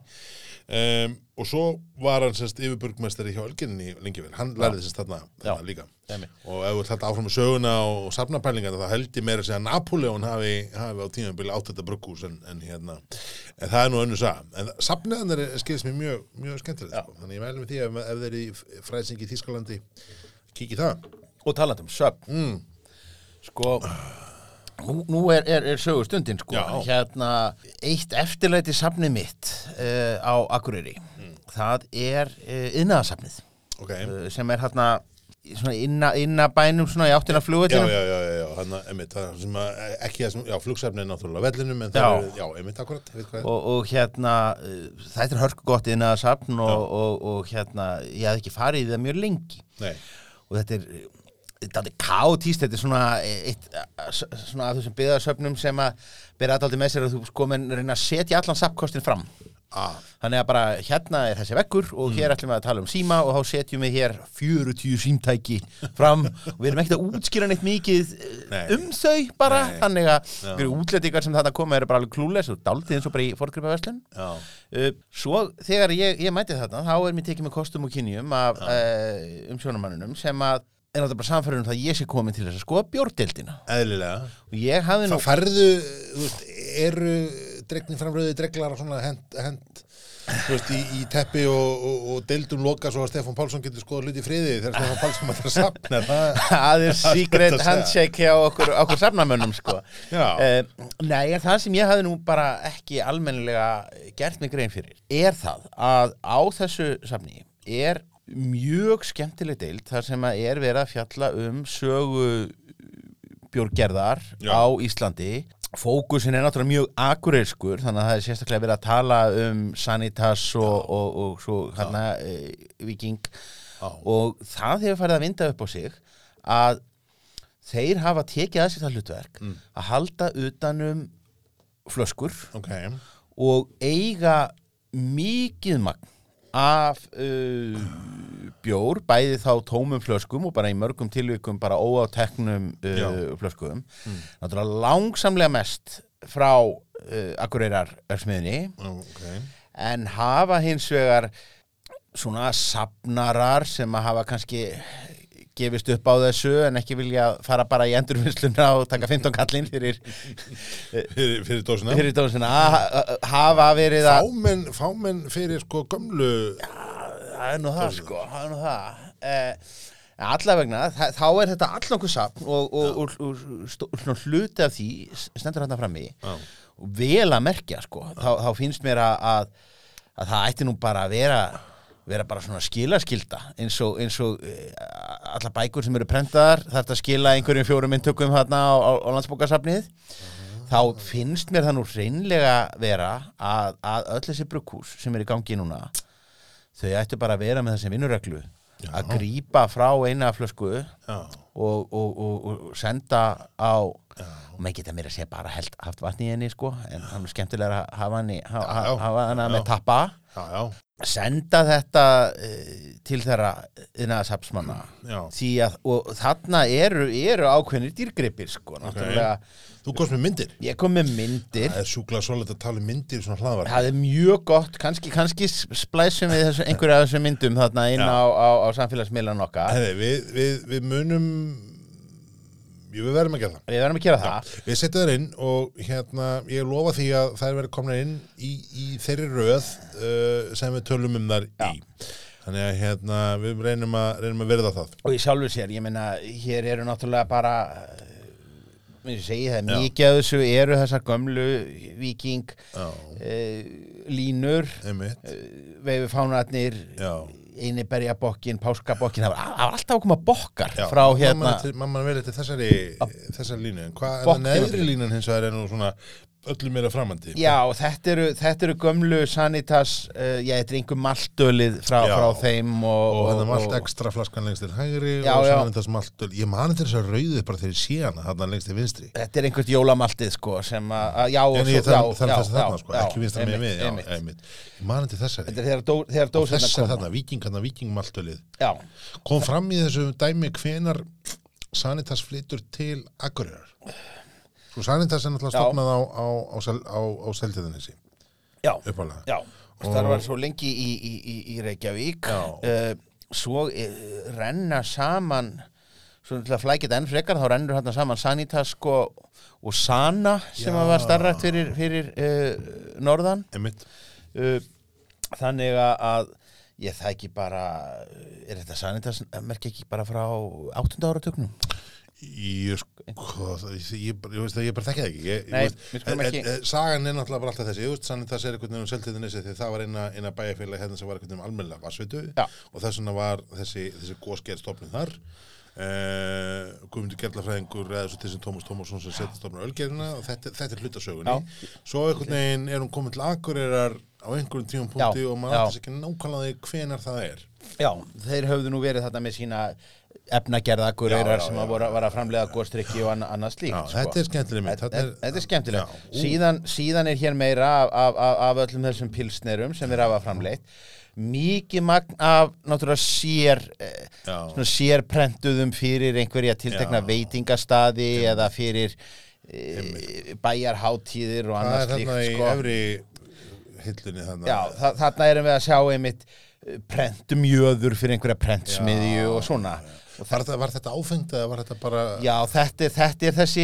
[SPEAKER 1] Um, og svo var hann semst yfirburgmestari hjá Ölginni lengi vel. Hann lærði semst þarna, þarna
[SPEAKER 2] Já.
[SPEAKER 1] líka.
[SPEAKER 2] Einmitt.
[SPEAKER 1] Og ef við þetta áfram með söguna og safnapælingar þá held ég meira að segja að Napoleon hafi, hafi á tímabili átt þetta brugghús en, en hérna, en það er nú önnur sag en safnaðanar skilst mér mjög, mjög skemmtilegt, sko. þannig ég mælu með því ef, ef þeir eru í fræsing í Þískalandi kikið það,
[SPEAKER 2] og talandi um söfn
[SPEAKER 1] mm,
[SPEAKER 2] sko nú, nú er, er, er sögustundin sko
[SPEAKER 1] Já.
[SPEAKER 2] hérna eitt eftirlæti safni mitt uh, á Akureyri
[SPEAKER 1] Mm.
[SPEAKER 2] það er uh, innaðasafnið
[SPEAKER 1] ok já,
[SPEAKER 2] uh, sem er hérna í svona inna, innabænum svona í áttina
[SPEAKER 1] já,
[SPEAKER 2] flugvöldinu
[SPEAKER 1] já, já, já, hann að, einmitt, það sem að, e, ekki það sem, já, flugsefni er náttúrulega á vellinum, en
[SPEAKER 2] Já.
[SPEAKER 1] það er, já, einmitt, akkurat ég veit hvað er.
[SPEAKER 2] og, og hérna uh, þetta er hörku gott innaðasafn og, og, og, hérna ég hafði ekki farið í það mjög lengi
[SPEAKER 1] Nei,
[SPEAKER 2] og þetta er þetta er kátíst, þetta er svona eh, eitt, svona af þessum byggðarsöfnum sem að byrja aðdaldi með sér að þú sko menn reyna að setja allan sapkostin fram
[SPEAKER 1] að,
[SPEAKER 2] þannig að bara hérna er þessi vekkur og
[SPEAKER 1] Mm.
[SPEAKER 2] hér ætlum við að tala um síma og þá setjum við hér 40 símtæki fram og við erum ekkert að útskýra neitt mikið eh,
[SPEAKER 1] Nei.
[SPEAKER 2] um þau bara,
[SPEAKER 1] Nei.
[SPEAKER 2] þannig að við erum útlætingar sem þetta koma eru bara alveg klúles og daldið eins og bara í fórgripaverslun
[SPEAKER 1] já,
[SPEAKER 2] Uh, Svo þegar ég, ég mæti þarna þá er mér tekið með kostum og kynjum af uh, umsjónamannunum sem að er náttúrulega bara samfærður um það að ég sé komin til þess að skoða bjórdeildina
[SPEAKER 1] eðlilega
[SPEAKER 2] og ég hafði nú
[SPEAKER 1] Það færðu, þú veist, eru dregni framröðu dreglar og svona hent, hent þú veist, í, í teppi og, og, og deildum loka svo að Stefán Pálsson getur skoða hluti í friði þegar Stefán Pálsson maður að safna það.
[SPEAKER 2] aðeins
[SPEAKER 1] Það er
[SPEAKER 2] secret
[SPEAKER 1] gott að segja.
[SPEAKER 2] handshake hjá okkur, okkur safnamönnum sko.
[SPEAKER 1] Já.
[SPEAKER 2] Eh, Nei, en það sem ég hafði nú bara ekki almennilega gert mig grein fyrir er það að á þessu safni er mjög skemmtileg deild þar sem að er verið að fjalla um sögu bjórgerðar
[SPEAKER 1] Já.
[SPEAKER 2] á Íslandi fókusin er náttúrulega mjög akureyrskur þannig að það er sérstaklega verið að tala um Sanitas og, og, og svo hérna e, Viking
[SPEAKER 1] Já.
[SPEAKER 2] og það hefur farið að vinda upp á sig að þeir hafa tekið að sér það hlutverk að halda utanum flöskur
[SPEAKER 1] Ok,
[SPEAKER 2] og eiga mikið magn af uh, bjór, bæði þá tómum flöskum og bara í mörgum tilvikum bara óáteknum
[SPEAKER 1] Já.
[SPEAKER 2] uh, flöskum náttúrulega langsamlega mest frá uh, Akureyrar örsmiðni
[SPEAKER 1] ok,
[SPEAKER 2] en hafa hins vegar svona sapnarar sem að hafa kannski gefist upp á þessu en ekki vilja fara bara í endurvinnsluna og taka 15 kallinn fyrir,
[SPEAKER 1] fyrir, fyrir dósina.
[SPEAKER 2] fyrir dósina Ha- hafa verið að
[SPEAKER 1] Fámenn, fámenn fyrir sko gömlu,
[SPEAKER 2] Það er nú það sko, það er nú það eh, Allavegna, þa- þá er þetta allangur safn og, og, og, og, og stó- svona hluti af því stendur hann frammi
[SPEAKER 1] Já.
[SPEAKER 2] og vel að merkja sko, þá, þá finnst mér að, að, að það ætti nú bara að vera vera bara svona skilaskilda eins og, eins og eh, allar bækur sem eru prentaðar þarf að skila einhverjum fjórum inntökum þarna á, á, á landsbókasafnið þá finnst mér það nú reynlega vera að, að öll þessi brugghús sem er í gangi núna þau ættu bara að vera með þessi vinnureglu að grípa frá eina flösku og,
[SPEAKER 1] já,
[SPEAKER 2] og, og, og senda á og maður geta mér að segja bara held haft vatn í henni sko en hann er skemmtilega að hafa hann, í, ha, ha,
[SPEAKER 1] Já, já.
[SPEAKER 2] hafa hann með
[SPEAKER 1] Já.
[SPEAKER 2] tappa
[SPEAKER 1] já, já,
[SPEAKER 2] senda þetta uh, til þeirra innasapsmanna
[SPEAKER 1] já.
[SPEAKER 2] því að og þarna eru, eru ákveðnir dýrgripir sko náttúrulega
[SPEAKER 1] Þú komst með myndir.
[SPEAKER 2] ég kom með myndir
[SPEAKER 1] Það er sjúklega svolítið að tala um myndir í svona hlaðvarp.
[SPEAKER 2] Það er mjög gott, kannski, kannski splæsum við þessu, einhverja af þessum myndum þarna inn
[SPEAKER 1] Já.
[SPEAKER 2] á, á, á samfélagsmiðlan okkar.
[SPEAKER 1] Herri, Við, við, við munum, jú, við verðum að gera það.
[SPEAKER 2] Við verðum að gera það.
[SPEAKER 1] Við setjum þær inn og hérna, ég lofa því að þær verður komna inn í, í þeirri röð uh, sem við tölum um þær í. Þannig að hérna, við reynum að, reynum að verða það.
[SPEAKER 2] Og í sjálfu sér, ég meina, hér eru náttúrulega bara, eh, eins og ég segi það, mikið af þessu eru þessar gömlu viking
[SPEAKER 1] Já,
[SPEAKER 2] uh, línur,
[SPEAKER 1] einmitt.
[SPEAKER 2] uh, veifufánarnir,
[SPEAKER 1] Já.
[SPEAKER 2] einiberjabokkin, páskabokkin, það var, það var alltaf að koma bokkar
[SPEAKER 1] Já,
[SPEAKER 2] frá
[SPEAKER 1] mamma
[SPEAKER 2] hérna.
[SPEAKER 1] er til- Mamma er vel eftir þessari, þessari línu, en hvað er
[SPEAKER 2] Bokk
[SPEAKER 1] það
[SPEAKER 2] hefur-
[SPEAKER 1] neðri línan hins vegar er nú svona öllu meira framandi?
[SPEAKER 2] Já, þetta eru, þetta eru gömlu sanitas, uh, já, þetta er einhver maltölið frá,
[SPEAKER 1] Já.
[SPEAKER 2] frá þeim og,
[SPEAKER 1] og hérna hann er allt ekstra flaskan lengst til hægri
[SPEAKER 2] Já,
[SPEAKER 1] og
[SPEAKER 2] já.
[SPEAKER 1] sann er þess malt ég mani þess að rauðu bara þegar ég sé hana hann lengst til vinstri
[SPEAKER 2] Þetta er einhvert jólamaltið sko sem að, að- já, og
[SPEAKER 1] en ég
[SPEAKER 2] svo- já,
[SPEAKER 1] þarf þarf
[SPEAKER 2] já,
[SPEAKER 1] þess að þarna
[SPEAKER 2] já,
[SPEAKER 1] sko
[SPEAKER 2] já,
[SPEAKER 1] ekki vinstra með
[SPEAKER 2] einmitt,
[SPEAKER 1] við já,
[SPEAKER 2] einmitt.
[SPEAKER 1] einmitt. ég mani til
[SPEAKER 2] Þetta
[SPEAKER 1] þessari
[SPEAKER 2] er þegar dó- þegar dósirnar
[SPEAKER 1] þessar
[SPEAKER 2] koma
[SPEAKER 1] þarna, vikingarna, vikingmaltölið
[SPEAKER 2] Já,
[SPEAKER 1] kom fram í þessu dæmi hvenar Sanitas flytur til Akureyrar sko Sanitas er náttúrulega
[SPEAKER 2] Já.
[SPEAKER 1] stofnað á, á, á, Sel- á, á seldiðanessi
[SPEAKER 2] já,
[SPEAKER 1] uppalega
[SPEAKER 2] já Það var svo lengi í, í, í, í Reykjavík
[SPEAKER 1] Já.
[SPEAKER 2] uh, Svo uh, renna saman Svo til að flækja þetta enn frekar þá rennur hérna saman Sanitas sko og Sana sem
[SPEAKER 1] Já.
[SPEAKER 2] að var starrætt fyrir, fyrir uh, norðan
[SPEAKER 1] einmitt
[SPEAKER 2] Uh, þannig að- að ég það ekki bara eh, er þetta sanitas merki ekki bara frá áttunda áratögnum
[SPEAKER 1] Ég sko, það- ég, ég, bara- ég veist það, ég bara þekki það ekki. Ég, ég
[SPEAKER 2] Nei,
[SPEAKER 1] veist,
[SPEAKER 2] við skulum
[SPEAKER 1] en-
[SPEAKER 2] ekki-
[SPEAKER 1] en- en Sagan er náttúrulega bara alltaf þessi, ég veist, sannig það er einhvern veginn um seltiðinesi því það var eina, eina bæjarfélag hérna sem var einhvern veginn um almennilega vassveitu
[SPEAKER 2] Já.
[SPEAKER 1] og þess vegna var þessi, þessi gósgerð stofnum þar. Uh, Guðmundur Gerlafræðingur eða svo til sem Tómas Tómasson sem setja stofnum ölgerina og þetta, þetta er hlutasögunni. Svo einhvern veginn er hún komin til Akureyrar á einhverjum tíum punkti
[SPEAKER 2] Já,
[SPEAKER 1] og
[SPEAKER 2] já.
[SPEAKER 1] maður alltaf ekki nákvæmlega því hvenar það er.
[SPEAKER 2] já, þeir höfðu nú verið þarna með sína efnagerðakur
[SPEAKER 1] Já, já,
[SPEAKER 2] sem
[SPEAKER 1] já,
[SPEAKER 2] að voru, var að framlega góðstrykki og anna- annað slíkt
[SPEAKER 1] Já,
[SPEAKER 2] sko.
[SPEAKER 1] þetta er skemmtileg mynd.
[SPEAKER 2] þetta, er, þetta er skemmtileg
[SPEAKER 1] Já, ú.
[SPEAKER 2] síðan, síðan er hér meira af, af, af, af öllum þessum pilsnerum sem þeir hafa framleitt mikið magn af náttúrulega sér eh,
[SPEAKER 1] Já.
[SPEAKER 2] svona sérprentuðum fyrir einhverja tiltekna
[SPEAKER 1] Já.
[SPEAKER 2] veitingastaði eða fyrir e, bæjarháttíðir og
[SPEAKER 1] Það er
[SPEAKER 2] annað
[SPEAKER 1] þarna
[SPEAKER 2] slíkt
[SPEAKER 1] í
[SPEAKER 2] sko.
[SPEAKER 1] efri hillunni þarna.
[SPEAKER 2] Já, þa þarna erum við að sjá einmitt eh, prentumjöður fyrir einhverja prentsmiðju og svona og
[SPEAKER 1] Var þetta, var þetta áfengt eða var þetta bara
[SPEAKER 2] Já, þetta er, þetta er þessi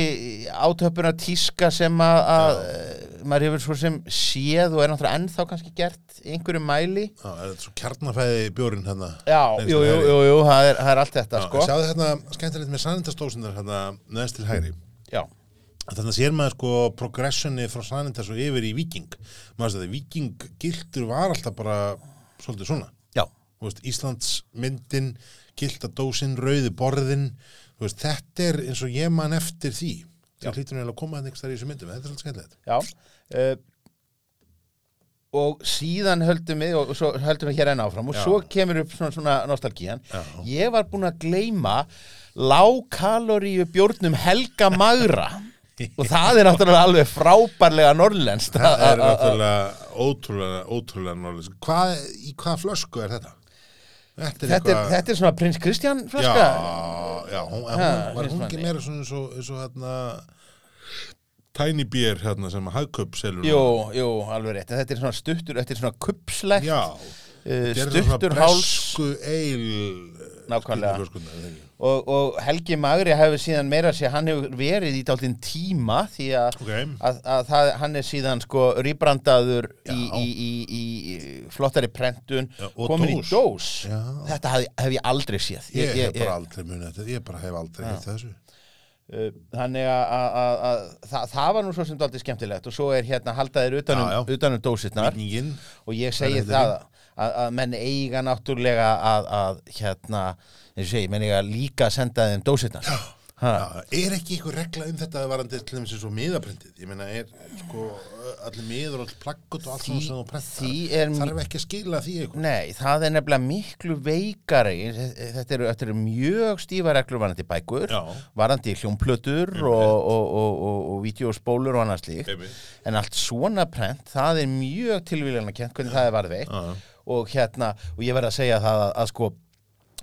[SPEAKER 2] átöpuna tíska sem að, að eh, maður hefur svo sem séð og er náttúrulega ennþá kannski gert í einhverju mæli.
[SPEAKER 1] Já, er þetta svo kjarnafæði bjórin hérna?
[SPEAKER 2] Já,
[SPEAKER 1] Lengst
[SPEAKER 2] jú,
[SPEAKER 1] til
[SPEAKER 2] jú,
[SPEAKER 1] hægri?
[SPEAKER 2] jú, jú, það er, það er allt þetta,
[SPEAKER 1] Já,
[SPEAKER 2] sko.
[SPEAKER 1] en Sjáðu hérna skemmtilegt með sanindastósunar hérna neðst til hægri.
[SPEAKER 2] Já,
[SPEAKER 1] Þannig að sér maður sko progressioni frá sanindas og yfir í viking. Maður veist að viking gildur var alltaf bara svolítið svona.
[SPEAKER 2] já,
[SPEAKER 1] Þú Veist, Íslands myndin, gildadósin, rauði borðin. Þú Veist, þetta er eins og ég man eftir því. Það hlýtur nefnilega að koma þetta einhverstaðar í þessu myndum. en Þetta er svolítið skemmtilegt.
[SPEAKER 2] já. Uh, og síðan höldum við, og, og svo höldum við hér enn áfram, og
[SPEAKER 1] Já.
[SPEAKER 2] svo kemur upp svona, svona nostalgían.
[SPEAKER 1] Já.
[SPEAKER 2] Ég var búin að gleyma lágkaloríu bjórnum Helga Magra. og það er náttúrulega alveg frábærlega norrlenskt.
[SPEAKER 1] Það er
[SPEAKER 2] að- að- að-
[SPEAKER 1] náttúrulega ótrúlega, ótrúlega norðlensk. Hvað, í hvaða flösku er þetta? Þetta er
[SPEAKER 2] þetta er,
[SPEAKER 1] eitthvað...
[SPEAKER 2] þetta er svona prins Kristján flaska
[SPEAKER 1] Já, já, hún, en hún,
[SPEAKER 2] Ha,
[SPEAKER 1] var
[SPEAKER 2] finnst
[SPEAKER 1] hún ekki
[SPEAKER 2] manni.
[SPEAKER 1] meira svona eins og, eins og hérna Tiny Beer hérna sem að hagköp selur
[SPEAKER 2] jú, jú, alveg rétt En þetta er svona stuttur, þetta er svona kupslegt
[SPEAKER 1] Já,
[SPEAKER 2] uh,
[SPEAKER 1] Gerðu svona
[SPEAKER 2] stuttur háls
[SPEAKER 1] Bresku eil eh,
[SPEAKER 2] Nákvæmlega.
[SPEAKER 1] skýrnaflöskurnar,
[SPEAKER 2] og, og Helgi Magri hefur síðan meira sér, hann hefur verið í dálítinn tíma því að,
[SPEAKER 1] Ok.
[SPEAKER 2] að, að það, hann er síðan sko rýbrandaður
[SPEAKER 1] Já.
[SPEAKER 2] í, í, í, í, í flottari prentun,
[SPEAKER 1] Já, og
[SPEAKER 2] komin
[SPEAKER 1] dós.
[SPEAKER 2] í dós.
[SPEAKER 1] Já.
[SPEAKER 2] Þetta hef, hef ég aldrei séð.
[SPEAKER 1] Ég, ég, hef bara aldrei munið þetta, ég bara hef aldrei hitt þessu.
[SPEAKER 2] Uh, þannig að- að að- að það, það var nú svo sem dálítið skemmtilegt og svo er hérna haldaðir
[SPEAKER 1] Já,
[SPEAKER 2] utanum,
[SPEAKER 1] já.
[SPEAKER 2] utanum um dósirnar
[SPEAKER 1] Byggingin,
[SPEAKER 2] og ég segi
[SPEAKER 1] Verður
[SPEAKER 2] það að, að menn eiga náttúrulega að, að hérna, eins og segi, menn eiga líka að senda þeim dósirnar ha,
[SPEAKER 1] já, er ekki eitthvað regla um þetta varandi til þess að svo miðaprintið? Ég meina, er sko allir miður, allir plaggut og allt
[SPEAKER 2] Því-
[SPEAKER 1] svona sem þú prentar?
[SPEAKER 2] því er mi-
[SPEAKER 1] Þarf ekki að skila því eitthvað?
[SPEAKER 2] Nei, það er nefnilega miklu veikari eh, þetta eru, þetta eru mjög stífa reglur varandi bækur
[SPEAKER 1] Já.
[SPEAKER 2] varandi hljómplötur og, og, og, og, og vídeospólur og annað slíkt
[SPEAKER 1] Einmitt.
[SPEAKER 2] en allt svona prent, það er mjög tilvíljana kent hvernig það er varðveitt
[SPEAKER 1] Já.
[SPEAKER 2] og hérna, og ég verð að segja það að, að sko,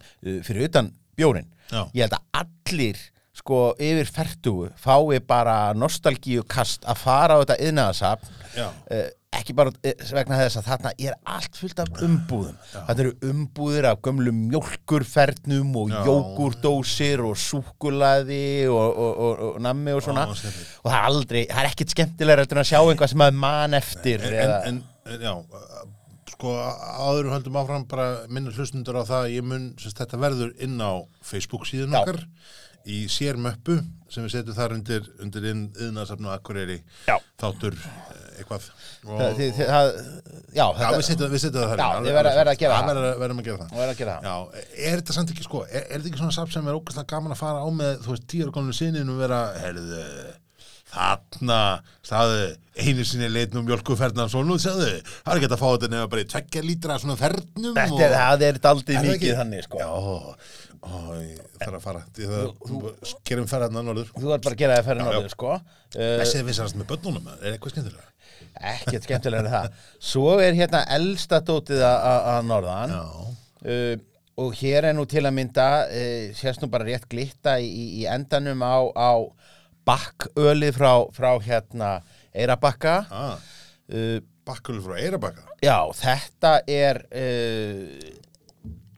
[SPEAKER 2] uh, fyrir utan bjórin,
[SPEAKER 1] Já.
[SPEAKER 2] ég held að allir sko yfir fertugu fái bara nostalgíukast að fara á þetta yðnaðasafn
[SPEAKER 1] Já.
[SPEAKER 2] Eh, ekki bara eh, vegna þess að þarna er allt fullt af umbúðum þetta eru umbúðir af gömlum mjólkurfernum og
[SPEAKER 1] Já.
[SPEAKER 2] jógurdósir og súkulaði og, og, og, og nammi og svona
[SPEAKER 1] Já,
[SPEAKER 2] og
[SPEAKER 1] skemmtilegt.
[SPEAKER 2] það er aldrei, það er ekkit skemmtilega heldur en að sjá einhvað sem maður man eftir
[SPEAKER 1] En,
[SPEAKER 2] eða,
[SPEAKER 1] en, en, já, sko áðurum höldum áfram bara minna hlustundur á það að ég mun, sem sagt, þetta verður inn á Facebook síðan
[SPEAKER 2] Já.
[SPEAKER 1] okkar í sérmöppu sem við setjum þar undir, undir inn yðnarsafn og akkureri
[SPEAKER 2] Já.
[SPEAKER 1] þáttur eh, eitthvað og,
[SPEAKER 2] það, þið, þið, það, já,
[SPEAKER 1] Já,
[SPEAKER 2] þetta,
[SPEAKER 1] við setjum, við setjum það þar
[SPEAKER 2] Já,
[SPEAKER 1] inn, alveg-
[SPEAKER 2] við verðum-
[SPEAKER 1] alveg
[SPEAKER 2] verðum að gera
[SPEAKER 1] satt.
[SPEAKER 2] það.
[SPEAKER 1] verðum að- verðum að gera það
[SPEAKER 2] Verðum að gera það.
[SPEAKER 1] Já, er þetta samt ekki sko, er, er þetta ekki svona safn sem er ógæslega gaman að fara á með, þú veist, tíu konum sinni og vera, herðu, þarna, staðu, einu sinni leitnum mjölkuferðnan svo nú, segðu, það er ekki hægt að fá þetta nefna bara í tveggja lítra svona ferðnum
[SPEAKER 2] þetta er, það er daldið
[SPEAKER 1] Er það
[SPEAKER 2] mikið
[SPEAKER 1] ekki?
[SPEAKER 2] þannig sko
[SPEAKER 1] Já, ó, ég þarf að fara, ég þarf að gerum ferðnan norður.
[SPEAKER 2] þú ert bara að gera það fyrir
[SPEAKER 1] Já, já.
[SPEAKER 2] náttúrulega sko Eh,
[SPEAKER 1] Þessi er vissarast með börnunum, er eitthvað skemmtilega?
[SPEAKER 2] ekkert skemmtilega en það svo er hérna elsta dótið að- að að norðan
[SPEAKER 1] Já.
[SPEAKER 2] uh, og hér er nú til að mynda uh, sérst nú bara rétt glitta í, í endanum á, á bakkölið frá, frá hérna Eirabakka
[SPEAKER 1] Ah,
[SPEAKER 2] uh,
[SPEAKER 1] bakkulu frá Eirabakka.
[SPEAKER 2] já, þetta er uh,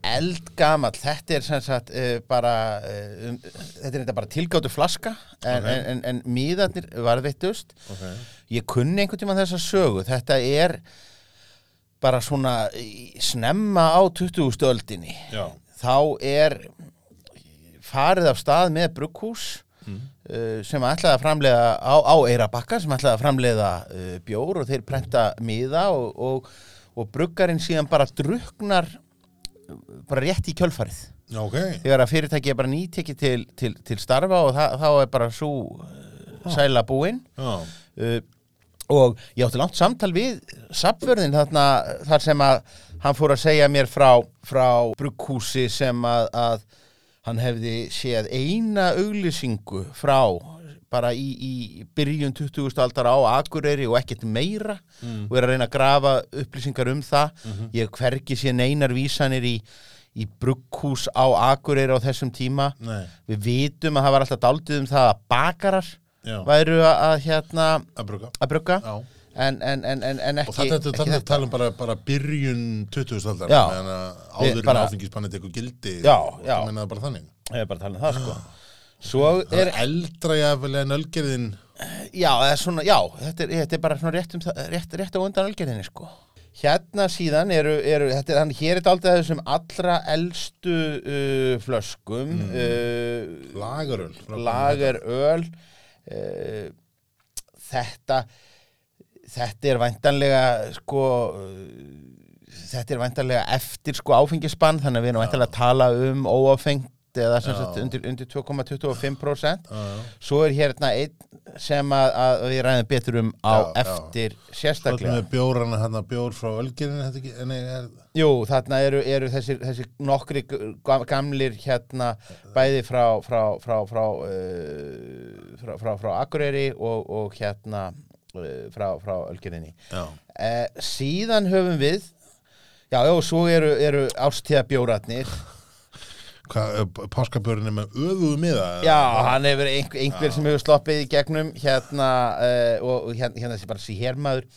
[SPEAKER 2] eldgamall þetta er sem sagt uh, bara uh, um, þetta er þetta bara tilgáttu flaska en,
[SPEAKER 1] Ok.
[SPEAKER 2] en, en, en míðarnir varðvittust
[SPEAKER 1] Okay.
[SPEAKER 2] ég kunni einhvern tímann þessa sögu þetta er bara svona í- snemma á 20. öldinni
[SPEAKER 1] Já.
[SPEAKER 2] þá er farið af stað með brugghús uh, sem ætlaði að framleiða á, á Eirabakka sem ætlaði að framleiða uh, bjór og þeir prenta miða og, og, og bruggarinn síðan bara druknar uh, bara rétt í kjölfarið
[SPEAKER 1] Já, ok.
[SPEAKER 2] þegar að fyrirtæki er bara nýtekið til, til, til starfa og það, þá er bara svo sæla búinn
[SPEAKER 1] Já,
[SPEAKER 2] uh, og ég átti langt samtal við sapförðin þarna þar sem að hann fór að segja mér frá, frá brugghúsi sem að, að hann hefði séð eina auglýsingu frá bara í, í byrjun 20. aldar á Akureyri og ekkert meira og er að reyna að grafa upplýsingar um það ég hvergi sé neinar vísanir í, í brugghús á Akureyri á þessum tíma
[SPEAKER 1] nei,
[SPEAKER 2] við vitum að það var alltaf daldið um það að bakarar
[SPEAKER 1] Já.
[SPEAKER 2] væru að, að hérna
[SPEAKER 1] að bruga
[SPEAKER 2] að brugga
[SPEAKER 1] Já.
[SPEAKER 2] en, en, en, en, en
[SPEAKER 1] Og
[SPEAKER 2] ekki,
[SPEAKER 1] þannig að
[SPEAKER 2] ekki
[SPEAKER 1] þetta talum um bara, bara byrjun 20. aldar
[SPEAKER 2] Já.
[SPEAKER 1] meðan að
[SPEAKER 2] Við
[SPEAKER 1] áður en
[SPEAKER 2] bara-
[SPEAKER 1] áfengisbannið tekur gildi
[SPEAKER 2] Já,
[SPEAKER 1] og
[SPEAKER 2] já.
[SPEAKER 1] það meinaði bara þannig
[SPEAKER 2] ég er bara að tala um það sko svo
[SPEAKER 1] Það
[SPEAKER 2] er,
[SPEAKER 1] er eldra jafnvel en ölgerðin
[SPEAKER 2] já, eða svona, já þetta er, þetta er bara svona rétt, um, það- rétt, rétt á undan algjörðinni sko hérna síðan eru, eru þetta er, hann hér er daldið að þessum allra elstu uh, flöskum mm.
[SPEAKER 1] lagaröl frá-
[SPEAKER 2] lager öl uh, þetta þetta er væntanlega sko eh, þetta er væntanlega eftir sko áfengisbann þannig að við erum væntanlega að tala um óáfengt eða sem sagt undir, undir 2,25%
[SPEAKER 1] Já,
[SPEAKER 2] svo er hérna einn sem að, að við ræðum betur um
[SPEAKER 1] Já,
[SPEAKER 2] á
[SPEAKER 1] já.
[SPEAKER 2] eftir
[SPEAKER 1] Svo ætlum
[SPEAKER 2] sérstaklega
[SPEAKER 1] við bjórana hérna, bjór frá ölgerðin þetta ekki, nei, er,
[SPEAKER 2] Jú, þarna eru, eru þessir, þessir nokkri g- gam- gamlir hérna bæði frá frá, frá, frá, uh, frá, frá, frá Akureyri og, og hérna uh, frá, frá Ölgerinni
[SPEAKER 1] já,
[SPEAKER 2] uh, Síðan höfum við Já, já, og svo eru, eru ástíðabjóratnir
[SPEAKER 1] hvað, páskabjörn er með öðuðu miða
[SPEAKER 2] Já, hann hefur einhver, einhver sem hefur sloppið í eh, gegnum hérna uh, og, og hérna, hérna þessi bara síhermaður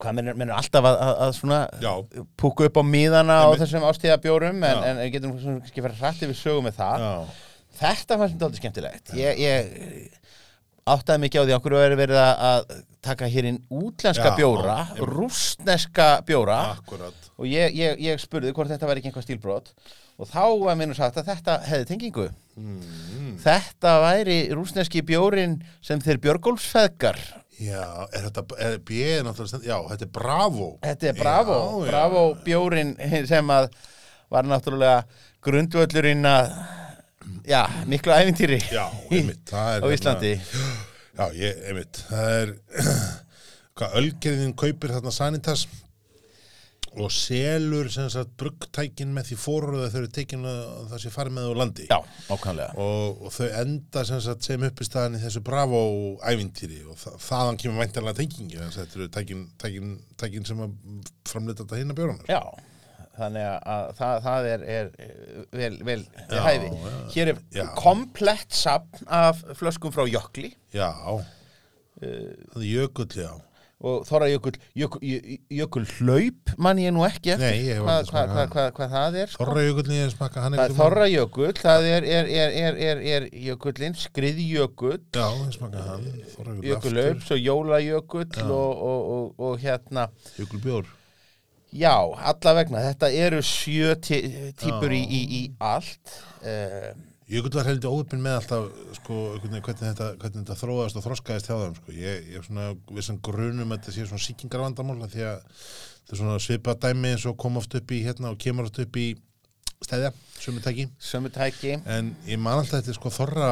[SPEAKER 2] hvað mennur, mennur alltaf að, að, að svona
[SPEAKER 1] Já.
[SPEAKER 2] púka upp á miðana á
[SPEAKER 1] Einmitt. þessum
[SPEAKER 2] þessum ástíðabjórum en,
[SPEAKER 1] Já.
[SPEAKER 2] en getum kannski fara hrætt yfir sögu með það
[SPEAKER 1] já,
[SPEAKER 2] þetta fannst þetta aldrei skemmtilegt ég, ég áttaði mikið á því okkur er verið að- að taka hér inn útlenska
[SPEAKER 1] Já,
[SPEAKER 2] bjóra,
[SPEAKER 1] einmitt.
[SPEAKER 2] rústneska bjóra
[SPEAKER 1] akkurat
[SPEAKER 2] og ég, ég, ég spurði hvort þetta væri ekki einhvað stílbrot og þá var minnur sagt að þetta hefði tengingu
[SPEAKER 1] mm,
[SPEAKER 2] þetta væri rúsneski bjórin sem þeir Björgólfsfeðgar
[SPEAKER 1] já, er þetta er, B er náttúrulega, stend- já, þetta er Bravo
[SPEAKER 2] þetta er Bravo,
[SPEAKER 1] já,
[SPEAKER 2] Bravo bjórin sem að var náttúrulega grundvöllurinn að já, miklu æfintýri
[SPEAKER 1] já, einmitt, það er
[SPEAKER 2] á Íslandi
[SPEAKER 1] já, ég, einmitt, það er hvað, ölgerðin kaupir þarna sanitas og selur sem sagt bruggtækin með því fóröðu að þau eru tekin að að það sé farið með á landi
[SPEAKER 2] já, ákvæmlega
[SPEAKER 1] og, og þau enda sem, sagt, sem uppistaðan í þessu bravo ævintýri og þa þaðan kemur væntanlega tengingi þess að þetta eru tækin, tækin, tækin sem að framleita þetta hérna hinna bjórunar
[SPEAKER 2] já, þannig að- að það, það er, er vel, vel
[SPEAKER 1] Já,
[SPEAKER 2] já, hæfi
[SPEAKER 1] já.
[SPEAKER 2] hér er
[SPEAKER 1] Já.
[SPEAKER 2] komplett safn af flöskum frá Jökli
[SPEAKER 1] Já, það er jökull, já
[SPEAKER 2] og Þorra Jökull, Jökull, Jö- Jökull hlaup mann ég nú ekki eftir
[SPEAKER 1] Nei, ég hef
[SPEAKER 2] hvað,
[SPEAKER 1] aldrei
[SPEAKER 2] hvað,
[SPEAKER 1] smakað
[SPEAKER 2] hvað,
[SPEAKER 1] hann.
[SPEAKER 2] hvað, hvað það er sko.
[SPEAKER 1] Þorra jökull nýja smakka hann
[SPEAKER 2] það er
[SPEAKER 1] einhvern tímann.
[SPEAKER 2] Þorra Jökull, það er, er, er, er, er, er Jökullin, Skriðjökull
[SPEAKER 1] Já, ég smakka hann Þorra
[SPEAKER 2] Jökull
[SPEAKER 1] jökull
[SPEAKER 2] hlaups og Jólajökull og, og, og, og hérna
[SPEAKER 1] aftur Jökull bjór
[SPEAKER 2] já, alla vegna, þetta eru sjö tí, típur í, í, í allt uh,
[SPEAKER 1] Jökull var heldur óöpinn með alltaf sko, hvernig, hvernig, þetta, hvernig þetta þróaðast og þroskaðist hjá þeim sko. ég, ég er svona vissan grunum að þetta sé svona sýkingarvandamál af því að þetta er svona svipað dæmi eins og kom oft upp í hérna og kemur oft upp í stæðja, sömu tæki
[SPEAKER 2] sömu tæki
[SPEAKER 1] en ég man alltaf þetta er sko þorra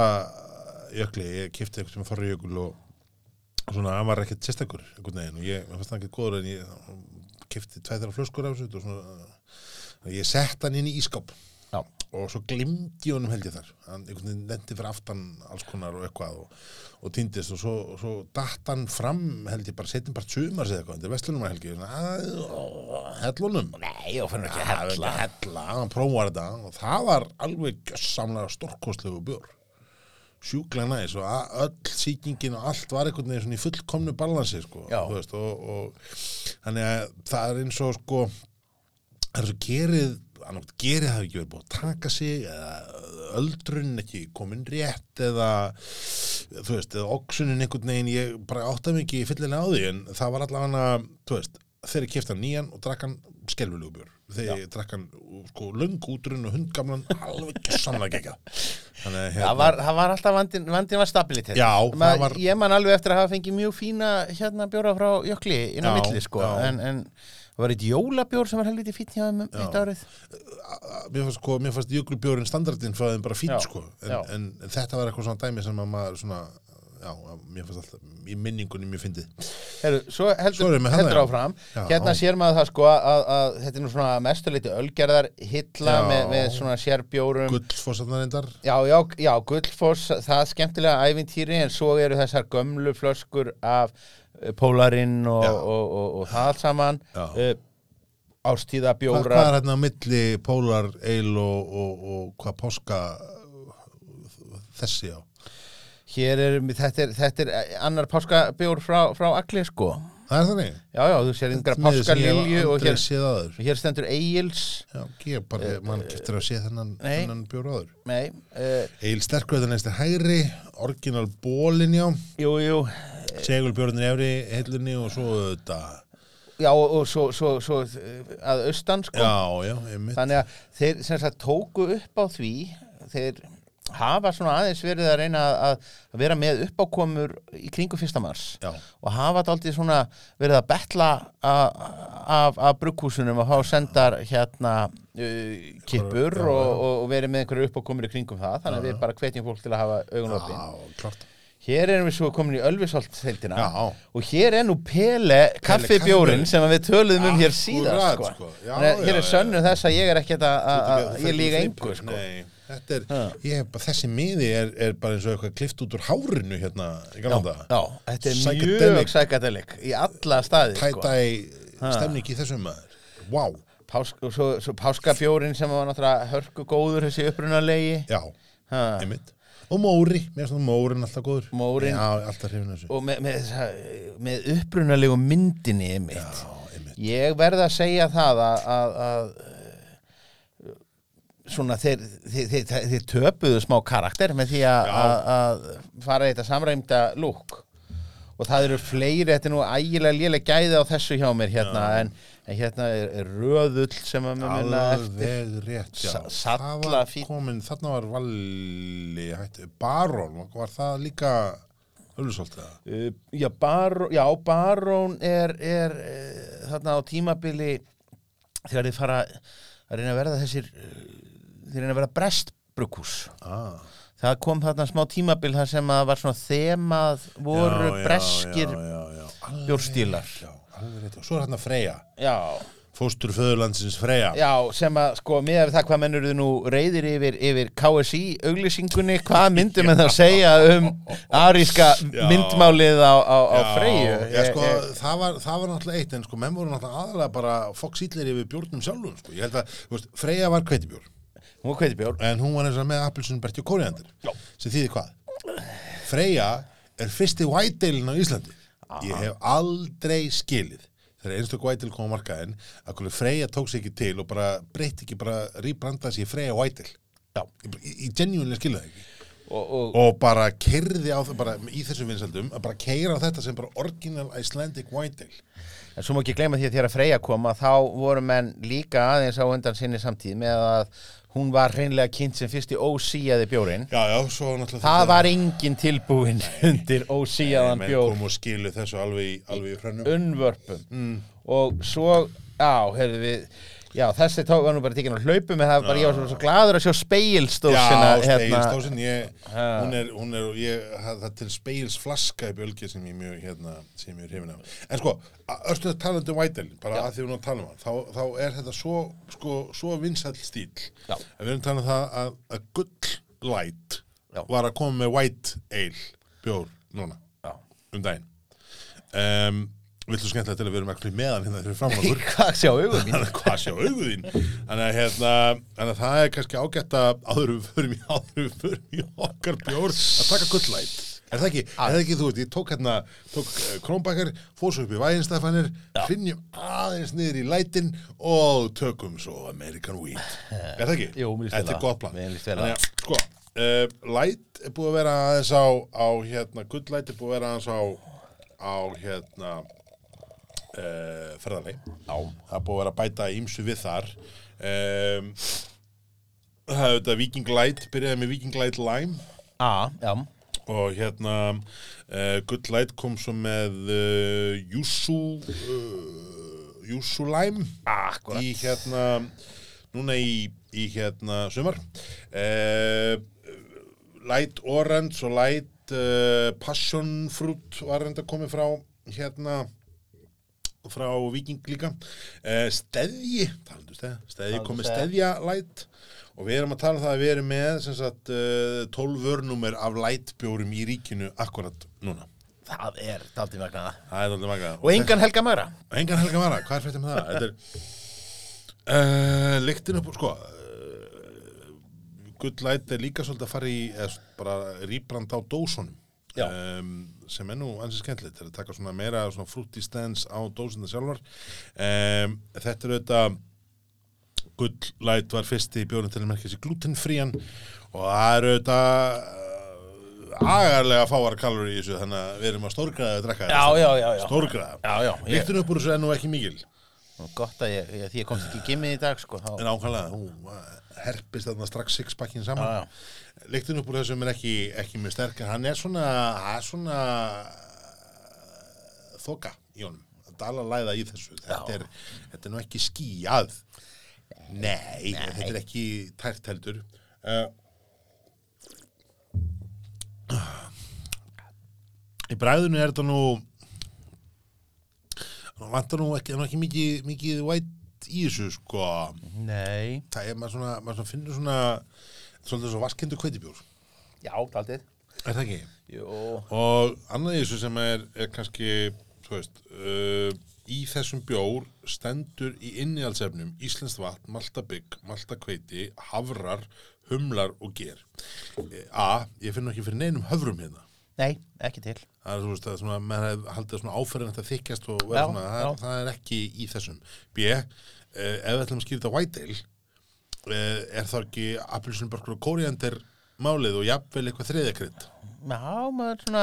[SPEAKER 1] jökli, ég kipti eitthvað sem þorra jökul og svona hann var ekkert sérstakur einhvern veginn og ég, mér fannst hann ekkert góður en ég kipti tveið þeirra flöskur af þessu og svona, ég sett hann inn í ískáp
[SPEAKER 2] já,
[SPEAKER 1] og svo glimti honum held ég þar hann einhvern veginn lendi fyrir aftan alls konar og eitthvað og, og týndist og svo, og svo datt hann fram held ég bara setjum bara sumar eða eitthvað, þetta er vestlunum að helgi svona, hellunum
[SPEAKER 2] nei, og fann ekki
[SPEAKER 1] Það er
[SPEAKER 2] hella
[SPEAKER 1] ekki hella, hann prófaði þetta og það var alveg gjössamlega stórkostlegu bjór sjúklega næs og a- öll sýkingin og allt var einhvern veginn svona í fullkomnu balansi sko,
[SPEAKER 2] Já.
[SPEAKER 1] þú veist, og, og þannig að það er eins og sko það er svo gerið annars, gerið hafi ekki verið búið að taka sig eða öldrun ekki komin rétt eða þú veist, eða oxunin einhvern veginn ég bara átta mig ekki fyllilega á því en það var allavega, þú veist, þegar ég kefti hann nýjan og drakk hann skelfulegu björ þegar ég drakk hann sko löng útrun og hundgamlan alveg ekki samlega ekki þannig að
[SPEAKER 2] Það var, það var alltaf vandin, vandin var stabilitet
[SPEAKER 1] Hérna. Já,
[SPEAKER 2] Ma,
[SPEAKER 1] það var-
[SPEAKER 2] Ég man alveg eftir að hafa fengið mjög fína hérna bjóra frá Jökli inn á
[SPEAKER 1] Já,
[SPEAKER 2] milli sko
[SPEAKER 1] já.
[SPEAKER 2] en, en það var eitt jólabjór sem var helviti fínn hjá þeim um eitt árið
[SPEAKER 1] að- mér fannst sko, mér fannst jökulbjórin standardinn fæðin bara fín
[SPEAKER 2] Já,
[SPEAKER 1] sko en,
[SPEAKER 2] já.
[SPEAKER 1] en þetta var eitthvað svona dæmi sem að maður svona, já, að mér fannst alltaf í minningunni mér fyndið
[SPEAKER 2] Heru, Svo
[SPEAKER 1] Svo
[SPEAKER 2] heldur,
[SPEAKER 1] erum við hana,
[SPEAKER 2] heldur
[SPEAKER 1] já.
[SPEAKER 2] áfram
[SPEAKER 1] Já.
[SPEAKER 2] Hérna sér maður það sko að, að, að þetta er nú svona að mestu leiti ölgerðar hilla
[SPEAKER 1] Já.
[SPEAKER 2] með, með svona sérbjórum
[SPEAKER 1] gullfossarnar endar
[SPEAKER 2] Já, já, já, Gullfoss, það er skemmtilega ævintýri en svo eru þessar gömlu flöskur af eh, Pólarinn og,
[SPEAKER 1] Já.
[SPEAKER 2] og, og, og, það allt saman
[SPEAKER 1] Já.
[SPEAKER 2] uh,
[SPEAKER 1] Hva-
[SPEAKER 2] ástíðabjórar
[SPEAKER 1] Hvað er hérna á milli Pólar, Eil og, og, og hvað Páska uh, þessi á?
[SPEAKER 2] Hér er, þetta er, þetta er annar páskabjór frá, frá allir sko.
[SPEAKER 1] Það er þannig.
[SPEAKER 2] Já, já, þú sér yngra
[SPEAKER 1] Miður sem ég hef
[SPEAKER 2] páskalilju og
[SPEAKER 1] aldrei
[SPEAKER 2] hér,
[SPEAKER 1] séð áður.
[SPEAKER 2] hér stendur Egil's,
[SPEAKER 1] Já, ég bara, mann getur að sé þennan,
[SPEAKER 2] Nei.
[SPEAKER 1] þennan bjór áður.
[SPEAKER 2] nei, uh,
[SPEAKER 1] Eil sterkvöðan eist er hægri, orginal bólin já,
[SPEAKER 2] jú, jú,
[SPEAKER 1] segulbjörnir efri, hillunni og svo þetta.
[SPEAKER 2] já og og svo, svo, svo eh, að austan sko.
[SPEAKER 1] Já, já, einmitt.
[SPEAKER 2] Þannig að þeir sem sagt tóku upp á því, þeir hafa svona aðeins verið að reyna að- að, að vera með uppákomur í kringu fyrsta mars
[SPEAKER 1] Já.
[SPEAKER 2] og hafa þetta aldrei svona verið að betla a- af, af brugghúsunum og hafa sendar hérna uh, kippur
[SPEAKER 1] Já, já.
[SPEAKER 2] og, og, og verið með einhverju uppákomur í kringum það þannig að við bara hvetjum fólk til að hafa augun opið.
[SPEAKER 1] Já, klart.
[SPEAKER 2] Hér erum við svo komin í Ölfisholt-heildina
[SPEAKER 1] Já.
[SPEAKER 2] og hér er nú Pele kaffibjórin
[SPEAKER 1] kaffibjórinn.
[SPEAKER 2] sem að við töluðum um hér síðar
[SPEAKER 1] Akkúrat,
[SPEAKER 2] sko.
[SPEAKER 1] sko. Já,
[SPEAKER 2] Þannig að
[SPEAKER 1] já,
[SPEAKER 2] Hér er
[SPEAKER 1] já.
[SPEAKER 2] sönnu þess að ég er ekkert að- að að- Ah, ég líka engu sko. Ah.
[SPEAKER 1] Nei, þetta er, ég hef bara, þessi miði er, er bara eins og eitthvað klift út úr hárinu hérna í gamla dag.
[SPEAKER 2] Já, þetta er
[SPEAKER 1] Psychedelic.
[SPEAKER 2] mjög sækadelik í alla staði sko.
[SPEAKER 1] tæta í stemning í þessum maður Vá,
[SPEAKER 2] Pásk, og svo, svo páskabjórin sem var náttúrulega hörku góður þessi upprunalegi
[SPEAKER 1] já,
[SPEAKER 2] Ha.
[SPEAKER 1] einmitt Og Móri, mér finnst það Mórin alltaf góður.
[SPEAKER 2] Mórinn.
[SPEAKER 1] Já, alltaf hrifin af þessu.
[SPEAKER 2] og með, með, þessa- með upprunalegu myndinni einmitt.
[SPEAKER 1] Já, einmitt.
[SPEAKER 2] ég verð að segja það að, að, að eh, svona þeir, þeir, þeir, þeir, þeir töpuðu smá karakter með því að,
[SPEAKER 1] Já.
[SPEAKER 2] að, að fara í þetta samræmda lúk og það eru fleiri, þetta er nú ægilega lélega gæði á þessu hjá mér hérna en, en hérna er, er röðull sem að mér minna eftir
[SPEAKER 1] Alveg rétt, já.
[SPEAKER 2] Sa-
[SPEAKER 1] Það var
[SPEAKER 2] salla fín.
[SPEAKER 1] Komin, þarna var Valli, hætti, Barón, var það líka Ölfusholt eða?
[SPEAKER 2] Uh, já, barón, já, barón er, er uh, þarna á tímabili þegar þið fara að reyna að verða þessir uh, þið reyna að verða brestbrukús
[SPEAKER 1] Ah,
[SPEAKER 2] það kom þarna smá tímabil þar sem að var svona þemað voru
[SPEAKER 1] já, já,
[SPEAKER 2] breskir
[SPEAKER 1] já, já, já. Alveg
[SPEAKER 2] bjórstílar.
[SPEAKER 1] rétt, Já, alveg rétt. Og svo er hérna Freyja,
[SPEAKER 2] já.
[SPEAKER 1] fóstur föðurlandsins Freyja.
[SPEAKER 2] já, sem að sko miðað við það hvað mennur þið nú reyðir yfir, yfir KSI auglýsingunni, hvað myndum við það að segja um aríska
[SPEAKER 1] Já.
[SPEAKER 2] myndmálið á, á, á
[SPEAKER 1] Já,
[SPEAKER 2] Freyju
[SPEAKER 1] já, sko,
[SPEAKER 2] Ég- ég-
[SPEAKER 1] það, var, það var náttúrulega eitt en sko, menn voru náttúrulega aðalega bara fokksýtlir yfir bjórnum sjálfum sko. ég held að, þú veist, Freyja var kveitibjór
[SPEAKER 2] hún kveiti bjór
[SPEAKER 1] en hún var eins og með appelsunberti og kóriandir sem þýðir hvað Freyja er fyrsti white-dalein á Íslandi ég hef aldrei skilið þegar einstök white-dale kom á markaðin að hvernig Freyja tók sig ekki til og bara breytti ekki bara rýbrandað sér í Freyja white-dale
[SPEAKER 2] Já.
[SPEAKER 1] ég, ég, ég genuinlega skilið það ekki
[SPEAKER 2] og, og
[SPEAKER 1] og bara kerði á það bara í þessum vinsaldum að bara keira þetta sem bara original Icelandic white-dale
[SPEAKER 2] En svo má ekki gleyma því að þegar að Freyja kom að þá voru menn líka aðeins á undan sinni samtíð með að hún var hreinlega kynnt sem fyrst í ósíjaði bjórin.
[SPEAKER 1] Já, já, svo náttúrulega
[SPEAKER 2] Það var engin tilbúin undir ósíjaðan
[SPEAKER 1] menn
[SPEAKER 2] bjór
[SPEAKER 1] kom og skilu þessu alveg í, alveg í hrönnum
[SPEAKER 2] unnvörpum. Og svo, já, heyrðu við, já, þessi tók var nú bara tekin á hlaupum en það var bara, ég var svo- svo gladur að sjá speilstósina. hérna.
[SPEAKER 1] Já, speilsdósin, ég, hún er, hún er ég, það það er til speilsflaska í bjölgi sem ég mjög, hérna, sem ég er hrifin af En sko, öllstuð talandi um Vædelin, bara að því við erum að tala um hann þá, þá er þetta svo, sko, svo vinsall stíl
[SPEAKER 2] Já.
[SPEAKER 1] Að Við erum talað um það að, að gull light
[SPEAKER 2] Já.
[SPEAKER 1] var að koma með white ale bjór núna
[SPEAKER 2] Já.
[SPEAKER 1] um daginn um, Viltu skemmtilega til að við erum ekki meðan hérna þegar fram á okkur
[SPEAKER 2] Hvað sjá augum mín?
[SPEAKER 1] Þannig að hvað sjá auguðinn Þannig að hérna, þannig að það er kannski ágætt að áður við förum í, áður við förum í okkar bjór að taka gullæt Er það ekki, er það ekki, þú veist, ég tók hérna tók krónbakkar, fór svo upp í væginstafanir hrinnjum aðeins niður í lætin og tökum svo American Weed Er það ekki?
[SPEAKER 2] Jú, mér líst vel
[SPEAKER 1] Þetta
[SPEAKER 2] á.
[SPEAKER 1] er gott plan
[SPEAKER 2] Mér líst vel á.
[SPEAKER 1] Þannig að, sko, uh, læt er búið að vera aðeins á, á hérna, gullæt er búið að vera aðeins á á hérna uh, ferðarlegi
[SPEAKER 2] Já.
[SPEAKER 1] það er búið að vera að bæta ímsu við þar um, það er þetta Viking Light byrjaði með Viking Light Lime
[SPEAKER 2] Á, já.
[SPEAKER 1] og hérna uh, Good Light kom svo með uh, Yusu uh, Yusu Lime
[SPEAKER 2] Akkurat.
[SPEAKER 1] í hérna núna í, í hérna sumar uh, Light Orange og Light uh, Passion Fruit var reynda komið frá hérna frá Viking líka uh, Steðji, talandu steðja Steðji
[SPEAKER 2] Talandu
[SPEAKER 1] komið
[SPEAKER 2] steðja.
[SPEAKER 1] Steðja Light og við erum að tala um það að við erum með sem sagt uh, 12 vörnúmer af lightbjórum í ríkinu akkurat núna
[SPEAKER 2] Það er daldið magnaða.
[SPEAKER 1] það er alveg maga
[SPEAKER 2] Og engan helga magra.
[SPEAKER 1] og engan helga vara, hvað er fyrir með það? Þetta er uh, lyktin upp, sko uh, Good Light er líka svolítið að fara í eða s- bara rýbrand á dósunum
[SPEAKER 2] Já.
[SPEAKER 1] um, sem er nú ansið skemmtilegt þetta er að taka svona meira svona fruity stance á dósinu sjálfar um, þetta er auðvitað Good Light var fyrst í bjórnum til að merkja sér glutenfrían og það eru þetta agarlega fáar kalori í þessu þannig að við erum að stórgraða að drekka
[SPEAKER 2] Já,
[SPEAKER 1] þetta.
[SPEAKER 2] já, já, já.
[SPEAKER 1] Stórgraða.
[SPEAKER 2] Já, já, ég-
[SPEAKER 1] Lyktin upp úr þessu er nú ekki mikil
[SPEAKER 2] Og Gott að ég, ég, því ég komst ekki í gimmið í dag, sko. Þá,
[SPEAKER 1] en ákvæmlega, hún uh, herpist þarna strax sixpackin saman
[SPEAKER 2] Já,
[SPEAKER 1] Lyktin upp úr þessum er ekki, ekki mjög sterk en hann er svona, hann er svona uh, þoka í honum dala læða í þessu þetta er, þetta er nú ekki skíjað nei, þetta er ekki tært heldur uh, í bræðinu er þetta nú hann vantar nú ekki, það er nú ekki mikið, mikið white í þessu sko
[SPEAKER 2] Nei.
[SPEAKER 1] það er maður svona, maður svona finnur svona svolítið svo vaskendu kveitibjór
[SPEAKER 2] Já, daldið.
[SPEAKER 1] er það ekki?
[SPEAKER 2] Jú.
[SPEAKER 1] og annað í þessu sem er, er kannski þú veist uh, í þessum bjór stendur í innihaldsefnum Íslenskt vatn, maltabygg, maltakveiti, havrar, humlar og ger. Eh, A, ég finn nú ekki fyrir neinum höfrum hérna.
[SPEAKER 2] Nei, ekki til.
[SPEAKER 1] Það er svona, það er svona menn hef- haldið svona áferðin að það þykjast og verða
[SPEAKER 2] Já,
[SPEAKER 1] svona, það, er-
[SPEAKER 2] já.
[SPEAKER 1] það er ekki í þessum. B, eh, ef við ætlum að skýra þetta white ale, eh, er það ekki appelsinbörkur og kóriandir málið og jafnvel eitthvað þriðakrydd?
[SPEAKER 2] Já, maður svona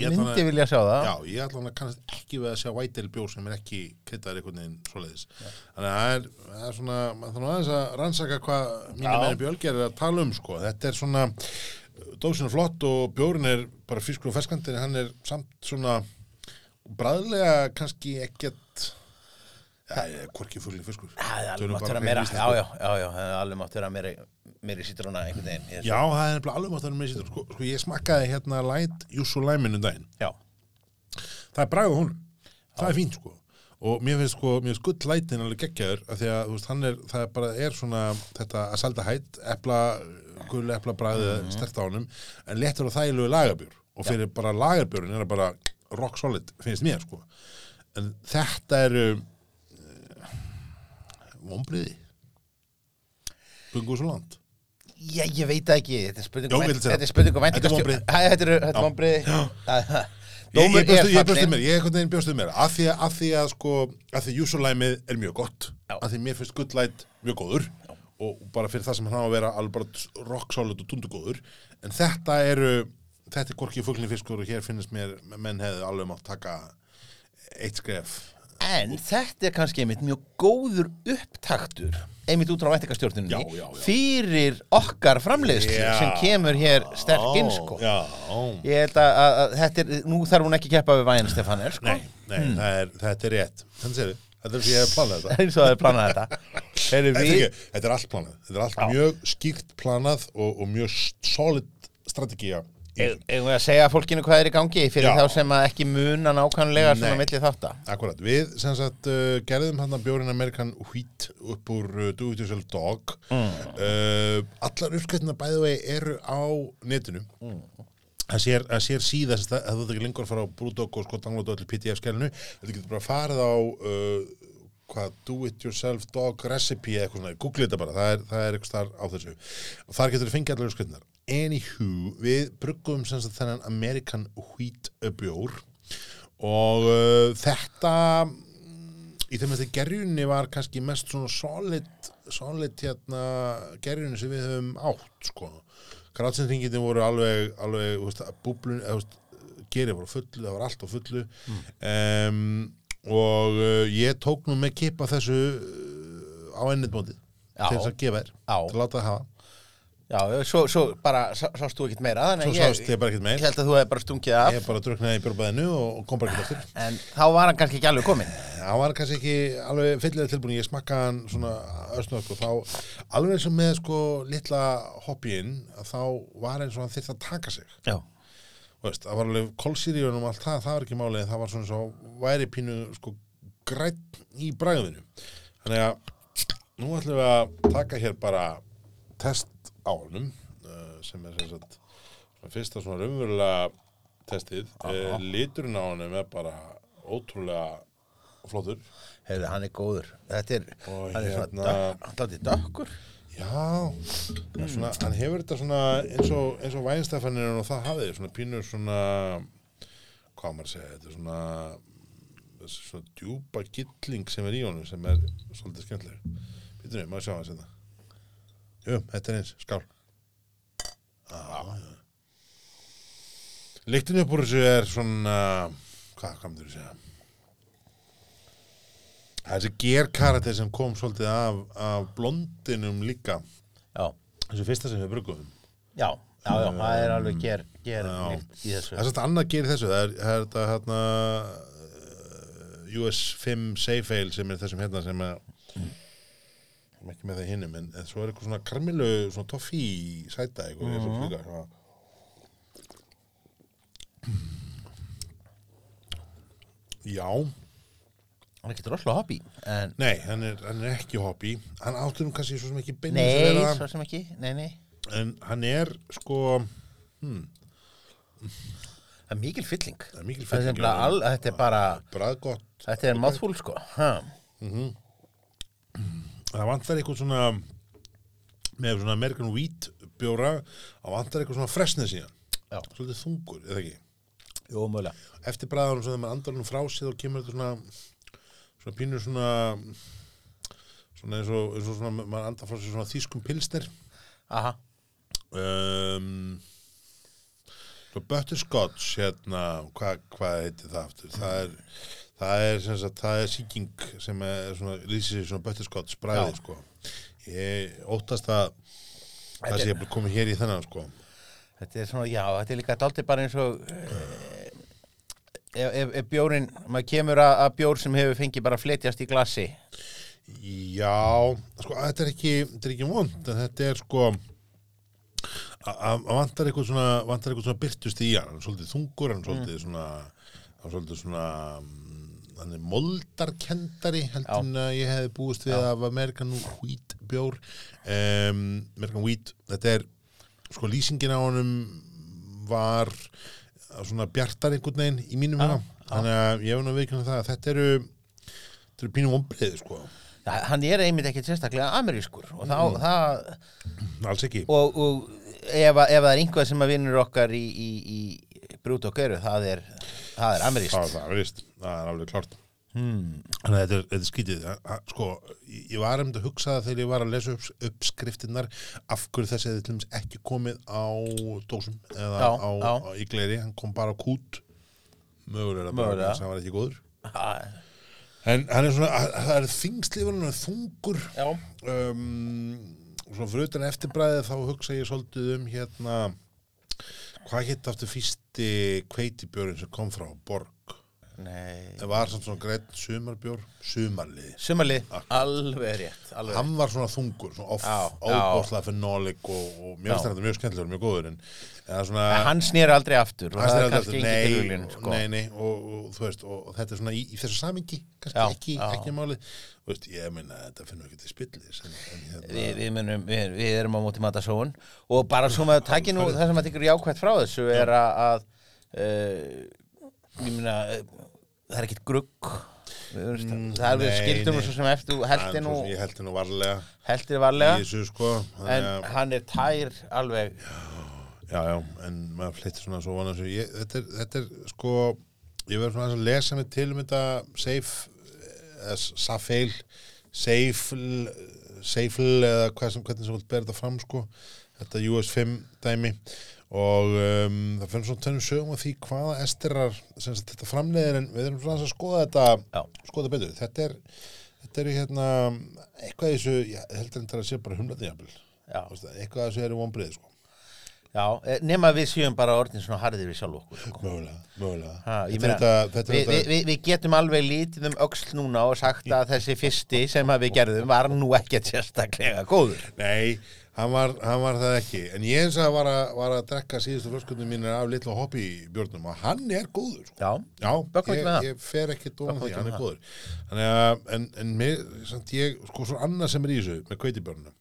[SPEAKER 1] Ég ætla
[SPEAKER 2] myndi
[SPEAKER 1] að-
[SPEAKER 2] vilja sjá það.
[SPEAKER 1] Já, ég ætla hann að kannast ekki við að sjá white ale bjór sem er ekki kryddaður einhvern veginn svoleiðis. Þannig að það er, það er svona, maður þannig aðeins að rannsaka hvað mínu
[SPEAKER 2] Já.
[SPEAKER 1] meðin bjölger er að tala um, sko. Þetta er svona, dósin er flott og bjórin er bara fiskur og ferskandi, en hann er samt svona bræðlega kannski ekkert, já, ég er hvorki fugli fiskur.
[SPEAKER 2] Það er alveg
[SPEAKER 1] Tölum
[SPEAKER 2] mátt
[SPEAKER 1] bara um
[SPEAKER 2] vera
[SPEAKER 1] hreinu
[SPEAKER 2] meira, já,
[SPEAKER 1] íslensku.
[SPEAKER 2] já, já, já, það er alveg mátt vera meiri, meiri sítróna einhvern veginn. Ég-
[SPEAKER 1] Já, það er nefnilega alveg mátt að vera með sér. Sko, sko, ég smakkaði hérna light jússu læminu um daginn.
[SPEAKER 2] já.
[SPEAKER 1] það er bragð á honum það er fínt sko og mér finnst sko, mér finnst gull lætin alveg geggjaður af því að þú veist, hann er, það bara er svona þetta að salda hætt, epla gull epla bræðið mm. stert á honum en léttur og þægilegu lagarbjör og fyrir bara lagarbjörun er það bara rock solid finnst mér sko en þetta eru uh, vombriði bungu svo land
[SPEAKER 2] Já, ég veit það ekki, þetta er
[SPEAKER 1] Jó,
[SPEAKER 2] spurning um
[SPEAKER 1] ég vil
[SPEAKER 2] vænt-
[SPEAKER 1] segja
[SPEAKER 2] þetta er spurning
[SPEAKER 1] Þetta
[SPEAKER 2] um
[SPEAKER 1] er
[SPEAKER 2] væntingastjó-
[SPEAKER 1] vonbrigði.
[SPEAKER 2] Hæ, Þetta er- þetta er
[SPEAKER 1] Já.
[SPEAKER 2] vonbrið
[SPEAKER 1] Ég, ég, bjóstu, ég bjóstu mér, ég einhvern veginn bjóstu mér af því að, af því að sko, af því júsulæmið er mjög gott,
[SPEAKER 2] Já.
[SPEAKER 1] af því mér finnst gullæt mjög góður og bara fyrir það sem hann á að vera alveg bara rock solid og tundugóður en þetta eru, þetta er gorki fuglni fiskur og hér finnst mér, menn hefðu alveg mátt taka eitt skref
[SPEAKER 2] En þetta er kannski einmitt mjög góður upptaktur einmitt út frá
[SPEAKER 1] Já,
[SPEAKER 2] væntingastjórninni
[SPEAKER 1] já, já.
[SPEAKER 2] fyrir okkar framleiðslu
[SPEAKER 1] Já.
[SPEAKER 2] sem kemur hér sterk inn sko.
[SPEAKER 1] Já,
[SPEAKER 2] Ég held að, að, að þetta er, nú þarf hún ekki að keppa við væn Stefanir sko.
[SPEAKER 1] nei, nei það er, þetta er rétt þannig séðu, þetta er því ég hef planað þetta
[SPEAKER 2] eins og það er planað þetta Þeir
[SPEAKER 1] Þetta er,
[SPEAKER 2] við,
[SPEAKER 1] ekki, þetta er allt planað, þetta er allt mjög skýrt planað og, og mjög solid strategía
[SPEAKER 2] Eig- eigum við að segja fólkinu hvað er í gangi fyrir
[SPEAKER 1] Já.
[SPEAKER 2] þá sem að ekki muna nákvæmlega svona
[SPEAKER 1] Nei.
[SPEAKER 2] milli þátt
[SPEAKER 1] Akkurat, við sem sagt uh, gerðum hann að bjórin Amerikan Wheat upp úr uh, Do It Yourself Dog uh, Allar uppskættina bæðu vegi eru á netinu Það sér, það sér síða sem það, það þú ert ekki lengur að fara á Brúdók og sko downloada öllu PDF-skælinu Þetta getur bara farið á uh, hvað Do It Yourself Dog Recipe eða eitthvað svona, google þetta bara, það er, það er eitthvað þar á þessu og þar getur þið fengið allar uppskættinar Anywho, við bruggum sem sagt þennan American Wheat uh, bjór og uh, þetta mm, í þeim að þetta gerjunni var kannski mest svona solid, solid hérna, gerjunni sem við höfum átt sko. grátsendringin voru alveg, alveg þú veist, að búblun eða, þú veist, gerið voru á fullu, það var allt á fullu mm. og uh, ég tók nú með kipa þessu uh, á ennitmótið
[SPEAKER 2] Já.
[SPEAKER 1] til þess að gefa þér
[SPEAKER 2] Já.
[SPEAKER 1] til að láta það hafa
[SPEAKER 2] Já, svo, svo bara sá- sást þú ekkert meira þannig
[SPEAKER 1] svo
[SPEAKER 2] að
[SPEAKER 1] sást ég bara ekkert
[SPEAKER 2] ég
[SPEAKER 1] meir
[SPEAKER 2] held að þú hefði bara stungið af
[SPEAKER 1] ég bara druknaði í björbæðinu og og kom bara ekkert aftur
[SPEAKER 2] en þá var hann kannski ekki alveg komin
[SPEAKER 1] Það var kannski ekki alveg fyllilega tilbúin, ég smakkaði hann svona ösnögt og þá, alveg eins og með sko litla hobbyin, að þá var eins og hann þyrfti að taka sig.
[SPEAKER 2] Já,
[SPEAKER 1] Þú Veist, það var alveg kolsýrjun og allt það, það var ekki málið, það var svona svo væri pínu sko grætt í bræðinu. Þannig að nú ætlum við að taka hér bara test á honum, eh, sem er sem sagt svona fyrsta svona raunverulega testið. Eh, Liturinn á honum er bara ótrúlega flottur.
[SPEAKER 2] heyrðu, hann er góður Þetta er,
[SPEAKER 1] Og
[SPEAKER 2] hann er
[SPEAKER 1] hérna-
[SPEAKER 2] svona dökk, hann látið dökkur
[SPEAKER 1] Já, mm. svona, hann hefur þetta svona eins og, eins og vænstafanir og það hafið, svona pínur svona, hvað á maður að segja, þetta er svona, þessi svona djúpa gilling sem er í honum sem er svolítið skemmtilegur. Býtum við, maður sjá hans þetta. Jú, þetta er eins, skál. Já, já. Líktin upp úr þessu er svona, hvað hvað myndir þú segja? Það er þessi gerkarater sem kom svolítið af, af blondinum líka
[SPEAKER 2] Já,
[SPEAKER 1] þessu fyrsta sem við brugum
[SPEAKER 2] já, já, já, það er alveg ger, ger
[SPEAKER 1] Já.
[SPEAKER 2] líkt í
[SPEAKER 1] það er
[SPEAKER 2] þessu
[SPEAKER 1] svolítið annað gerir þessu það er, það er þetta hérna eh, US 5 safe ale sem er þessum hérna sem er sem er ekki með það hinnum en, en svo er eitthvað svona karmilu svona toffi sæta eitthvað mm -hmm. líka, svona. já
[SPEAKER 2] Hann er ekki droslega hobby en,
[SPEAKER 1] nei, hann er, hann er ekki hobby hann áttur nú kannski svo sem ekki beinir
[SPEAKER 2] Nei, svo sem ekki, nei, nei
[SPEAKER 1] en hann er sko
[SPEAKER 2] Það það er mikil fylling
[SPEAKER 1] Það er mikil fylling í
[SPEAKER 2] Það er nefnilega
[SPEAKER 1] honum.
[SPEAKER 2] al- þetta er bara,
[SPEAKER 1] Bragðgott.
[SPEAKER 2] þetta er mouthful sko ha.
[SPEAKER 1] Það vantar eitthvað svona, með svona American Wheat bjóra, það vantar eitthvað svona fresnið síðan.
[SPEAKER 2] Já.
[SPEAKER 1] Svolítið þungur, eða ekki?
[SPEAKER 2] Jó, mögulega
[SPEAKER 1] Eftir bræðanum sem maður andar hann frá sig þá kemur þetta svona, svona pínur svona, svona eins og, eins og svona, maður andar frá sig svona þýskum pilsnir.
[SPEAKER 2] Aha,
[SPEAKER 1] Um, svo butterscotch, hérna, hvað hva heitir það aftur? Það er, það er sem sagt, það er sýking sem er svona, lýsir sér svona butterscotch bræði,
[SPEAKER 2] Já.
[SPEAKER 1] sko. Ég óttast að það sé að koma hér í þennan, sko.
[SPEAKER 2] þetta er svona, já, þetta er líka dálítið bara eins og eh, ef, ef, ef bjórin, maður kemur að, að bjór sem hefur fengið bara að fletjast í glassi
[SPEAKER 1] Já, sko, þetta er ekki, þetta er ekki vond, en þetta er sko, að- að að vantar eitthvað svona, vantar eitthvað svona byrtust í hann, hann er svolítið þungur,
[SPEAKER 2] Mm.
[SPEAKER 1] hann er svolítið svona, hann er svolítið svona, mm, hann er moldarkendari,
[SPEAKER 2] Já.
[SPEAKER 1] heldur en að ég hefði búist við af American Wheat bjór, um, American Wheat, þetta er, sko, lýsingin á honum var svona bjartar einhvern veginn í mínum
[SPEAKER 2] Já,
[SPEAKER 1] hérna, þannig að ég hef nú veikinn það, að þetta eru, þetta eru pínum ombriði, sko.
[SPEAKER 2] Þa, hann er einmitt ekkert sérstaklega amerískur og, þá, það,
[SPEAKER 1] Alls ekki.
[SPEAKER 2] og, og ef, að- ef það er einhvað sem að vinnur okkar í, í, í brút og göru, það er, það er Hmm. amerískt
[SPEAKER 1] Það, það er ameríst. Það er alveg klart. Þannig að þetta er, þetta er skítið. Að- að- Sko, ég ég var um að hugsa það þegar ég var að lesa upp, upp skriftinnar af hverju þessi hefði til dæmis ekki komið á dósum eða
[SPEAKER 2] Já,
[SPEAKER 1] á,
[SPEAKER 2] já.
[SPEAKER 1] á í gleri. Hann kom bara á kút. Mögulega bara
[SPEAKER 2] Mögulega.
[SPEAKER 1] þess að hann var ekki góður.
[SPEAKER 2] Ha,
[SPEAKER 1] En hann er svona, að- að það er þingslifur, hann er þungur.
[SPEAKER 2] Já,
[SPEAKER 1] um, svona fyrir utan eftirbræðið þá hugsa ég svolítið um hérna hvað hétt aftur fyrsti kveitibjörn sem kom frá Borg
[SPEAKER 2] nei
[SPEAKER 1] það var samt svona greitt sumarbjór sumarliði,
[SPEAKER 2] Sumarli, alveg rétt alveg. rétt.
[SPEAKER 1] hann var svona þungur svona off,
[SPEAKER 2] Já, já.
[SPEAKER 1] óbóðslega fenólik og, og mér finnst
[SPEAKER 2] Já.
[SPEAKER 1] þetta mjög skemmtilegur, mjög góður en, en það er svona
[SPEAKER 2] En Hann snýr aldrei aftur og
[SPEAKER 1] Hans
[SPEAKER 2] það
[SPEAKER 1] er
[SPEAKER 2] er kannski
[SPEAKER 1] aldrei-
[SPEAKER 2] engin
[SPEAKER 1] nei,
[SPEAKER 2] tilvílun sko.
[SPEAKER 1] nei, nei, og, og þú veist og, og þetta er svona í, í þessu samingi kannski
[SPEAKER 2] Já,
[SPEAKER 1] ekki,
[SPEAKER 2] já.
[SPEAKER 1] ekki málið Þú veist, ég meina þetta finnum við ekki til spillis en, en hérna
[SPEAKER 2] Við, við, munum, við, við erum á móti matasóun og bara svo maður taki nú það sem maður tekur jákvætt frá þessu er að, að uh, ég meina uh, það er ekkit grugg Við erum- það er við
[SPEAKER 1] Mm, nei,
[SPEAKER 2] skildum
[SPEAKER 1] nei.
[SPEAKER 2] svo sem eftir þú
[SPEAKER 1] En
[SPEAKER 2] heldir
[SPEAKER 1] svo
[SPEAKER 2] nú
[SPEAKER 1] sem Ég heldi nú varlega
[SPEAKER 2] heldir
[SPEAKER 1] í
[SPEAKER 2] varlega
[SPEAKER 1] þessu sko
[SPEAKER 2] en
[SPEAKER 1] þannig að-
[SPEAKER 2] hann er tær alveg
[SPEAKER 1] Já, já, en maður flyttir svona svo vana þessu ég, þetta, er, þetta er sko Ég verður svona aðeins að lesa mig til um þetta Safe eða Safeil Seifl Seifl eða hvað sem, hvernig sem vilt bera þetta fram sko Þetta US5 dæmi og um, það finnst svona tönnum sögum að því hvaða estirar sem sagt, þetta framleiðir en við erum svona aðeins að skoða þetta
[SPEAKER 2] já,
[SPEAKER 1] skoða betur, þetta er þetta er hérna, eitthvað í þessu ég heldur en það sé bara humlaði jafnvel
[SPEAKER 2] já,
[SPEAKER 1] Þú veist það, eitthvað að þessu er vonbrið sko.
[SPEAKER 2] já eh, nema við séum bara orðin svona harðir við sjálf okkur sko.
[SPEAKER 1] mögulega, mögulega
[SPEAKER 2] Ha, ég
[SPEAKER 1] þetta er
[SPEAKER 2] meina,
[SPEAKER 1] þetta, þetta,
[SPEAKER 2] við,
[SPEAKER 1] er
[SPEAKER 2] við,
[SPEAKER 1] þetta
[SPEAKER 2] við, við getum alveg lítið um öxl núna og sagt að þessi fyrsti sem að við gerðum var nú ekkert sérstaklega góður
[SPEAKER 1] nei, hann var, hann var það ekki en ég eins að var að, var að drekka síðustu flöskundum mínir af litla hobby björnum og hann er góður sko.
[SPEAKER 2] já,
[SPEAKER 1] Já,
[SPEAKER 2] Böggum ekki
[SPEAKER 1] ég,
[SPEAKER 2] með það.
[SPEAKER 1] ég fer ekki dóna
[SPEAKER 2] Böggum
[SPEAKER 1] því,
[SPEAKER 2] ekki
[SPEAKER 1] hann
[SPEAKER 2] með
[SPEAKER 1] er
[SPEAKER 2] það.
[SPEAKER 1] góður Þannig að, en, en mér, samt ég, sko svo annað sem er í þessu með kveitibjörnum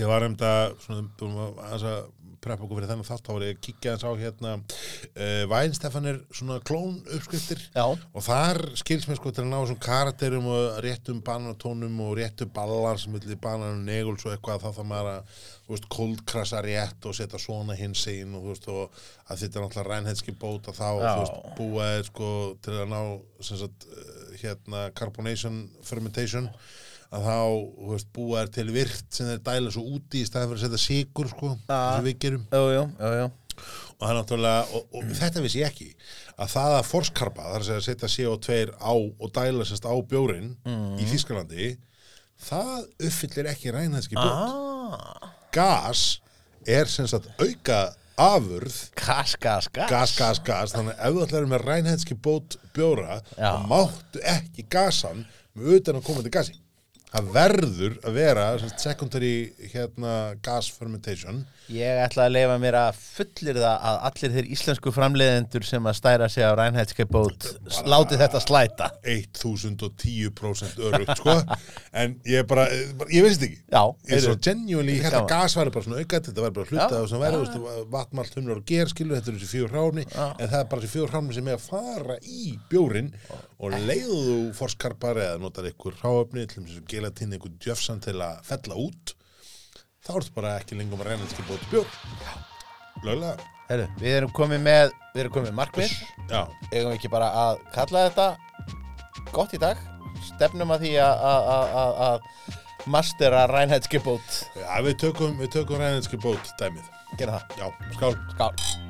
[SPEAKER 1] Ég var um þetta, svona, búin að aðeins að preppa okkur fyrir þennan þátt, þá var ég að kíkja aðeins á hérna uh, Vænstefanir, svona klón uppskriftir
[SPEAKER 2] Já.
[SPEAKER 1] og þar skils mér sko til að ná þessum karakterum og réttum banatónum og réttum ballar sem villi bananum neguls og eitthvað þá þarf maður að þú veist, kóldkrasa rétt og setja svona hins einn og þú veist og að þetta er náttúrulega rænhetski bóta þá og
[SPEAKER 2] Já.
[SPEAKER 1] þú veist búa er sko til að ná sem sagt eh, hérna carbonation fermentation að þá þú veist, búa er til virt sem þeir dæla svo úti í staðan fyrir að setja sigur sko
[SPEAKER 2] Já.
[SPEAKER 1] sem við gerum
[SPEAKER 2] Jú, jú, jú, jú.
[SPEAKER 1] og það er náttúrulega, og, og þetta vissi ég ekki að það að forskarpa, þar að segja að setja CO2 á og dæla sérst á bjórin í Þískalandi það uppfyllir ekki rænhænski bjótt
[SPEAKER 2] Ah,
[SPEAKER 1] gas er sérst að auka afurð
[SPEAKER 2] gas, gas, gas.
[SPEAKER 1] gas, gas, gas, þannig að ef þú ætlar með rænhænski bót bjóra,
[SPEAKER 2] Já.
[SPEAKER 1] þá máttu ekki gasan með utan að koma til gasi það verður að vera sem sagt, secondary hérna, gas fermentation
[SPEAKER 2] Ég ætla að leifa mér að fullir það að allir þeir íslensku framleiðendur sem að stæra sig á rænhætske bót láti þetta slæta.
[SPEAKER 1] 1010% örugt sko en ég bara, ég veist ekki
[SPEAKER 2] Já,
[SPEAKER 1] ég er svo
[SPEAKER 2] heyrðu.
[SPEAKER 1] genuinely, ég
[SPEAKER 2] Þetta er
[SPEAKER 1] held að
[SPEAKER 2] gaman.
[SPEAKER 1] gas væri bara svona aukað þetta væri bara hluta
[SPEAKER 2] Já,
[SPEAKER 1] og svona verður vatnmalt humlar og ger skilur, þetta er þessi fjögur hráni en það er bara þessi fjögur hráni sem er að fara í bjórin og leiðu þú forskarpar eða notar einhver hráöfni til þess að gelatín einhver djöfsan til að fella út þá ertu bara ekki lengur með reynalski bóti bjór löglega,
[SPEAKER 2] Heru, við erum komið með, við erum komið með markmið.
[SPEAKER 1] já,
[SPEAKER 2] Eigum við ekki bara að kalla þetta gott í dag. Stefnum að því að- að- að að- að mastera rænhætske bót.
[SPEAKER 1] ja, við tökum, við tökum reynalski bót dæmið,
[SPEAKER 2] Gerða það.
[SPEAKER 1] já, skál
[SPEAKER 2] Skál.